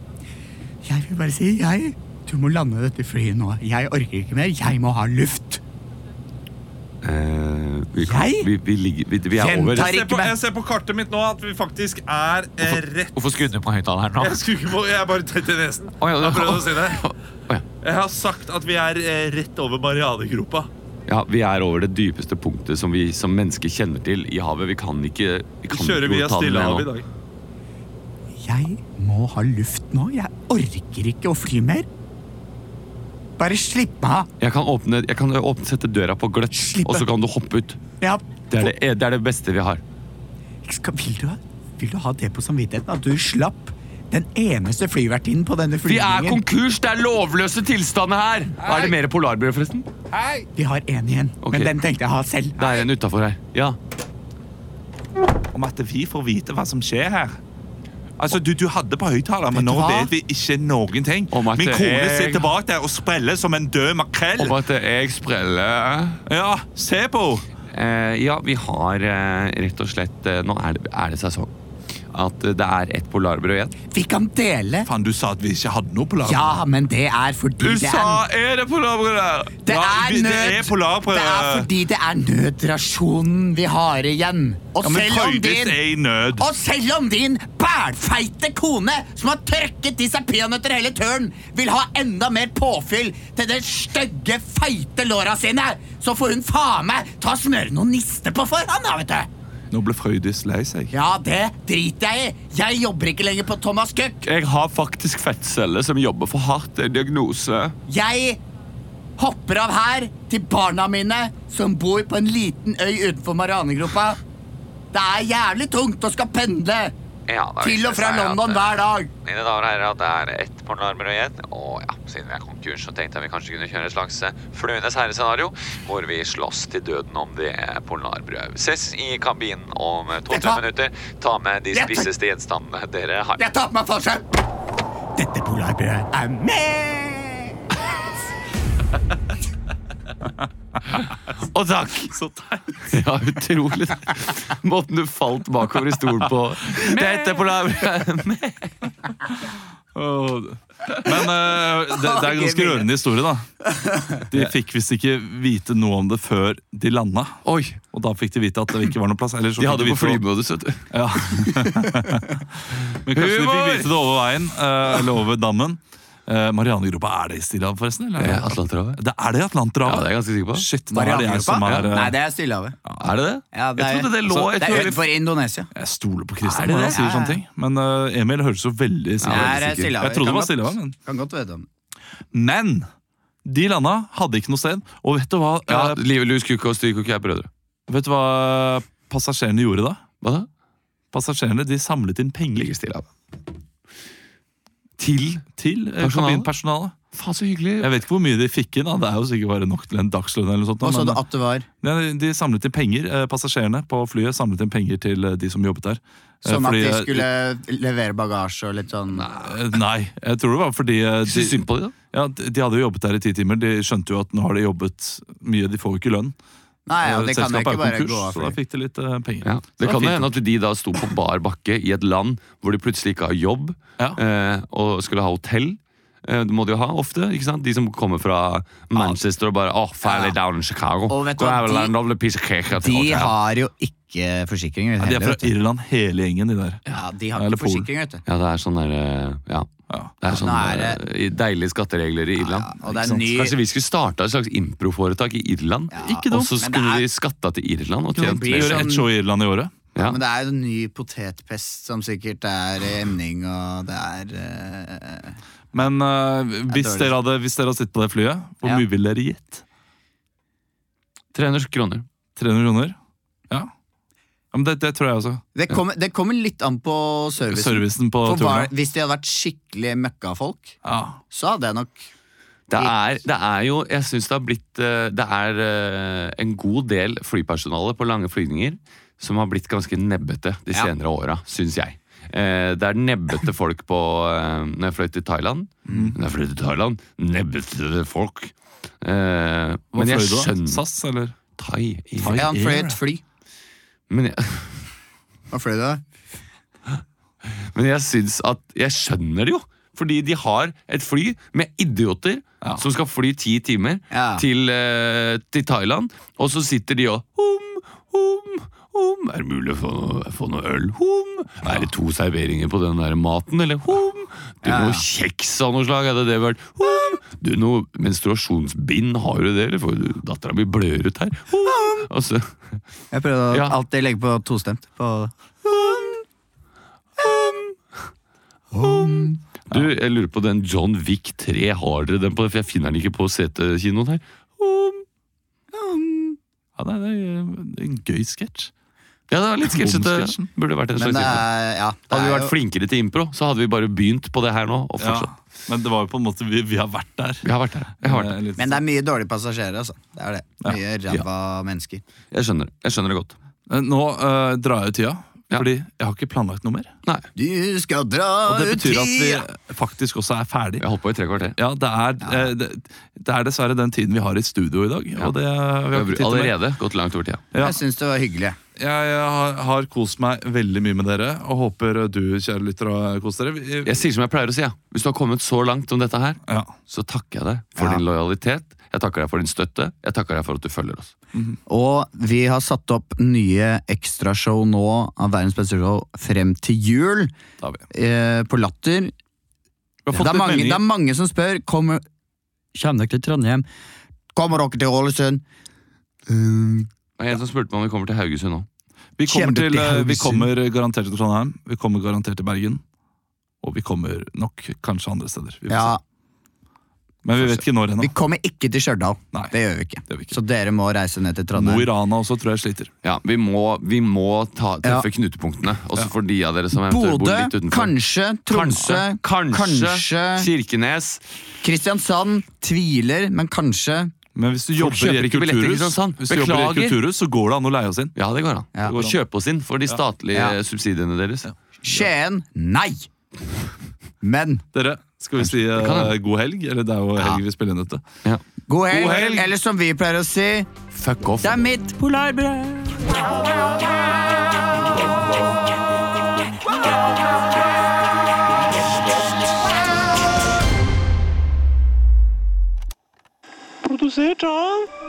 B: Jeg vil bare si, jeg Du må lande dette flyet nå. Jeg orker ikke mer. Jeg må ha luft.
C: Eh, vi,
B: Jeg?
C: Vi, vi, ligger, vi, vi er over.
B: Gjentar
E: Jeg ser, på,
B: ikke meg.
E: jeg ser på kartet mitt nå at vi faktisk er eh, rett
D: Hvorfor skrudde du på høyttaleren nå?
E: Jeg skulle ikke på, jeg er bare tett i nesen.
C: Å, ja,
E: Jeg prøvde å si det.
C: Å, ja.
E: Jeg har sagt at vi er eh, rett over Marianegropa.
C: Ja, vi er over det dypeste punktet som vi som mennesker kjenner til i havet. Vi kan ikke vi kan
E: Vi kjører
C: ikke
E: via
C: ta den ned
E: Stillehavet i
C: nå.
E: dag.
B: Jeg må ha luft nå. Jeg orker ikke å fly mer. Bare slipp meg av.
C: Jeg kan, åpne, jeg kan åpne, sette døra på gløtt,
B: Slippe.
C: og så kan du hoppe ut.
B: Ja,
C: Det er det, det er det beste vi har.
B: skal, vil, du, ha- vil du ha det på samvittigheten at du slapp den eneste flyvertinnen på denne
C: Vi er
B: flygningen?
C: konkurs! Det er lovløse tilstander her! Er det mer polarbrød, forresten?
B: Vi har én igjen,
C: Ok.
B: men den tenkte jeg å ha selv.
C: Det er en utafor her. Ja.
A: om at vi får vite hva som skjer her. Altså, Du, du hadde på høyttaler, men
B: Vet
A: nå
B: du hva?
A: vet vi ikke noen ting.
C: Om at
A: Min kone
C: jeg-
A: sitter bak der og spreller som en død makrell.
C: Om at jeg spreller
A: Ja, se på henne!
C: eh, Ja, vi har eh, rett og slett eh, Nå er det, er det sesong. At eh, det er ett polarbrød igjen.
B: Vi kan dele.
A: Faen, du sa at vi ikke hadde noe polarbrød.
B: Ja, men det er fordi det er
A: er det polarbrød der?
B: Det
A: Ja,
B: er
A: vi-
B: nød.
A: Det er polarbrød.
B: Det er fordi det er nødrasjonen vi har igjen. Og
A: ja, men
B: selv om
A: Frøydis
B: din
A: er i nød.
B: og selv om din bælfeite kone, som har tørket i seg peanøtter hele turen, vil ha enda mer påfyll til det stygge, feite låra sine, så får hun faen meg ta og smøre noen nister på forhånd, da, vet du.
A: Nå ble Frøydis lei seg.
B: Ja, det driter jeg i. Jeg jobber ikke lenger på Thomas Cook.
C: Jeg har faktisk fettceller som jobber for hardt. Det er en diagnose.
B: Jeg hopper av her til barna mine som bor på en liten øy utenfor Marianegropa. Det er jævlig tungt å skal pendle
D: Ja, da
B: til
D: viser
B: og
D: det
B: fra
D: seg at,
B: London
D: eh,
B: hver dag.
D: Mine damer og herrer, at det er ett pornoarmer og igjen. Og ja, siden vi er konkurs, så tenkte jeg vi kanskje kunne kjøre et slags eh, Fluenes herre-scenario, hvor vi slåss til døden om det pornoarbrødet. Ses i kabinen om eh,
B: Vet du
D: to-tre
B: hva?
D: minutter. Ta med de
B: Jeg tar-
D: spisseste gjenstandene dere har.
B: Jeg tar på meg fallskjerm. Dette polarbrødet er med!
A: Og takk!
C: Ja, utrolig. Måten du falt bakover i stolen på. Dette på lav-
A: Åh. Men eh, det, det er en ganske rørende historie, da. De fikk visst ikke vite noe om det før de landa.
C: Oi,
A: Og da fikk de vite at det ikke var noe plass. Eller så
C: de
A: fikk
C: hadde på
A: vite det-
C: flymodus, vet du.
A: Ja. Men kanskje de fikk
C: Humor!
A: vite det over veien, eh, eller over dammen. Eh, Marianegropa, er det i Stillehavet, forresten? Eller?
C: Ja, Atlanterhavet.
A: Det er det i Atlanterhavet?
C: Ja, det er jeg ganske sikker på.
A: Shit, nå er det jeg som er, eh,
B: Nei, det er Stillehavet.
C: Er det det?
B: Ja, det
C: jeg
B: er- altså,
C: trodde det lå jeg
B: Det
C: tror
B: er
C: det-
B: utenfor Indonesia.
A: Jeg stoler på Kristian
C: Er det
A: når han
C: det?
A: sier
B: Ja, ja.
A: sånne ting. Men eh, Emil høres jo veldig
B: Det
A: sikker
B: er
A: ut.
B: Stillehavet.
A: Jeg trodde det
B: Kan
A: var Stillehavet, men
B: godt- Kan godt vite om det.
A: Men de landa, hadde ikke noe sted. Og vet du hva,
C: Ja,
A: eh,
C: Liv Lus Kukk og Styr Kukk er brødre.
A: vet du hva passasjerene gjorde da?
C: Hva da?
A: Passasjerene de samlet inn penger
C: Ligger stille av. Til
A: til eh,
C: Personalet?
A: kabinpersonalet.
C: Faen, så hyggelig.
A: Jeg vet ikke hvor mye de fikk inn. da Det er jo sikkert bare nok til en dagslønn. eller noe sånt
B: Hva sa
A: men- eh,
B: du at det var?
A: Nei, De samlet inn penger, eh, passasjerene på flyet samlet inn penger til eh, de som jobbet der. Eh,
C: Sånn
B: Som sånn at
A: fordi,
B: de
A: eh,
B: skulle levere bagasje og litt sånn
A: eh, Nei, jeg tror det var fordi eh,
C: Syns du
A: de,
C: synd på dem, da?
A: ja, de de hadde jo jobbet der i ti timer. De skjønte jo at nå har de jobbet mye, de får jo ikke lønn.
B: Nei, ja,
A: Eh,
B: det kan
A: Selskapet
B: jeg ikke
A: er
B: bare
A: konkurs,
B: gå av
A: Så da
B: for.
A: fikk de litt eh, penger.
C: Ja.
A: Så
C: Det kan jo
A: fint.
C: hende at de da sto på bar bakke i et land hvor de plutselig ikke har jobb,
A: Ja.
C: eh, og skulle ha hotell. Eh, det må de jo ha ofte. ikke sant? De som kommer fra Manchester og bare oh, fairly down in Chicago.
B: Og vet du
C: Go
B: hva,
C: have a
B: de-
C: land of the piece of cake at the
B: De
C: hotel."
B: har jo ikke forsikringer.
A: Ja, de er
B: heller,
A: fra
B: vet du.
A: Irland, hele gjengen, de der.
B: Ja, de har
A: Eller
B: ikke
A: Polen.
B: forsikring, vet du.
C: Ja, det er sånn der, eh, ja.
A: Ja.
C: Det er
B: Ja,
C: sånn
B: nå er
C: eh, deilige skatteregler i Irland.
B: og det er
C: Ikke sant?
B: ny-
C: Kanskje vi skulle starta et slags improforetak i Irland?
B: Ja.
C: Ikke dumt. Og så
B: Men det
C: skulle
B: er-
C: de skatta til Irland og
B: Jo, det
C: tjent
B: blir
C: mer.
A: Gjør
B: sånn-
A: ett show i Irland i året.
C: Ja.
B: Men det er jo en ny potetpest som sikkert er i emning, og det er eh,
A: Men eh, hvis,
B: dårlig.
A: dere hadde, hvis dere hadde sittet på det flyet, hvor
B: Ja.
A: mye ville dere gitt?
C: 300 kroner.
A: 300 kroner? Ja. ja men det, det tror jeg også.
B: det, kommer, det kommer litt an på servicen.
A: Servicen på
B: For var,
A: turen.
B: hvis de hadde vært skikkelig møkkafolk,
A: Ja.
B: så hadde jeg nok
C: Det er, det er jo Jeg syns det har blitt eh, Det er eh, en god del flypersonale på lange flygninger som har blitt ganske nebbete de
B: Ja.
C: senere åra, syns jeg. Eh, Det er nebbete folk på eh, Når jeg fløy til Thailand.
A: Mm.
C: Når jeg fløy til Thailand, nebbete folk. Eh,
A: Hva
C: Men jeg
A: fløy du da?
C: skjønner
A: SAS, eller?
C: Thai. i-
A: Thai?
B: Ja, han fløy
A: Air.
B: et fly.
C: Men jeg,
B: Hva fløy du da?
C: men jeg syns at Jeg skjønner det jo. Fordi de har et fly med idioter
A: Ja.
C: som skal fly ti timer
B: Ja.
C: til, eh, til Thailand, og så sitter de og hum, hum, hum. Er det mulig å få noe, få noe øl? Hum. Er det to serveringer på den der maten? Eller hum. Du,
B: Ja.
C: noe kjeks av noe slag? Er det det vel? Hum. Du, noe menstruasjonsbind? Har du det, eller? For dattera mi blør ut her. Hum. Og så
B: Jeg prøvde å
C: Ja.
B: alltid legge på tostemt. På
C: Du, jeg lurer på den John Wick 3, har dere den på det? For jeg finner den ikke på CT-kinoen her. Um,
A: Ja, det er, det er en gøy sketsj.
C: Ja, det var litt sketsjete.
A: Bomsketsjen.
C: Burde vært en
B: men
C: slags
B: det
C: impro.
B: er, ja, det
C: Hadde vi
B: er
C: vært
B: jo-
C: flinkere til impro, så hadde vi bare begynt på det her nå. og
A: Ja.
C: fortsatt.
A: Men det var jo på en måte Vi, vi har vært der.
C: Jeg har vært der. Jeg, har vært der.
A: Eh, litt-
B: men det er mye dårlige passasjerer, altså. Det er det. Mye ræva mennesker.
C: jeg skjønner det. Jeg skjønner det godt.
A: Eh, Nå eh, drar jeg ut tida,
C: Ja.
A: fordi jeg har ikke planlagt noe mer.
C: Nei,
B: Du skal dra
A: Og det
B: ut
A: betyr at
B: tida!
A: vi faktisk også er ferdig.
C: jeg holdt på i tre kvarter.
A: Ja, det er, eh, Det, det er dessverre den tiden vi har i studio i dag. Og det, vi har
C: Jeg
A: ikke tid
C: har
A: til mer.
C: allerede gått langt over tida.
A: Ja.
B: Jeg syns det var hyggelig.
A: Jeg har, har kost meg veldig mye med dere, og håper du, kjære lytter, har kost dere. Vi-
C: Jeg sier som jeg pleier å si, ja. hvis du har kommet så langt om dette her,
A: Ja.
C: så takker jeg deg for
B: Ja.
C: din lojalitet. Jeg takker deg for din støtte. Jeg takker deg for at du følger oss.
B: Og vi har satt opp nye ekstrashow nå av verdens beste show frem til jul
A: Det har vi.
B: eh, på Latter.
A: Vi har fått
B: Det
A: litt
B: er, mange, det
A: meldinger.
B: er mange som spør kommer, Kommer dere til Trondheim. Kommer dere til Ålesund?
C: Det er en som spurte meg om vi kommer til Haugesund nå.
A: Vi kommer,
B: Kjempe
A: til,
B: til
A: eh, vi
B: Haugesund.
A: kommer garantert til Trondheim, vi kommer garantert til Bergen, og vi kommer nok kanskje andre steder. Vi får
B: Ja.
A: se. Men vi vet ikke når
B: Vi
A: ennå.
B: kommer ikke til Stjørdal.
A: Nei.
B: Det gjør vi ikke.
A: Det gjør vi ikke.
B: Så dere må reise ned til
A: Mo
B: Trondheim.
A: i Rana også tror jeg sliter.
C: Ja, vi må, vi må ta,
B: Ja.
C: treffe knutepunktene. Også for de av dere som eventuelt bor
B: Bodø,
C: litt utenfor.
B: kanskje. Tromsø,
C: kanskje, kanskje
B: kanskje.
C: Kirkenes.
B: Kristiansand tviler, men kanskje.
A: Men hvis du jobber i
C: kjøper
A: et
C: ikke billetter,
A: kulturhus,
C: ikke sant?
A: hvis du jobber i et
C: Beklager.
A: kulturhus, så går det an å leie oss inn.
C: Ja, det går an.
B: Ja.
C: Og kjøpe oss inn for de statlige
B: Ja.
C: subsidiene deres.
B: Skien nei! Men
A: Dere, skal vi si eh,
C: kan hende.
A: god helg? Eller det er jo helg vi spiller inn dette.
C: Ja.
B: god helg,
A: God helg.
B: eller som vi pleier å si,
C: Fuck off.
B: det er mitt polarbrød!
F: produzir, John.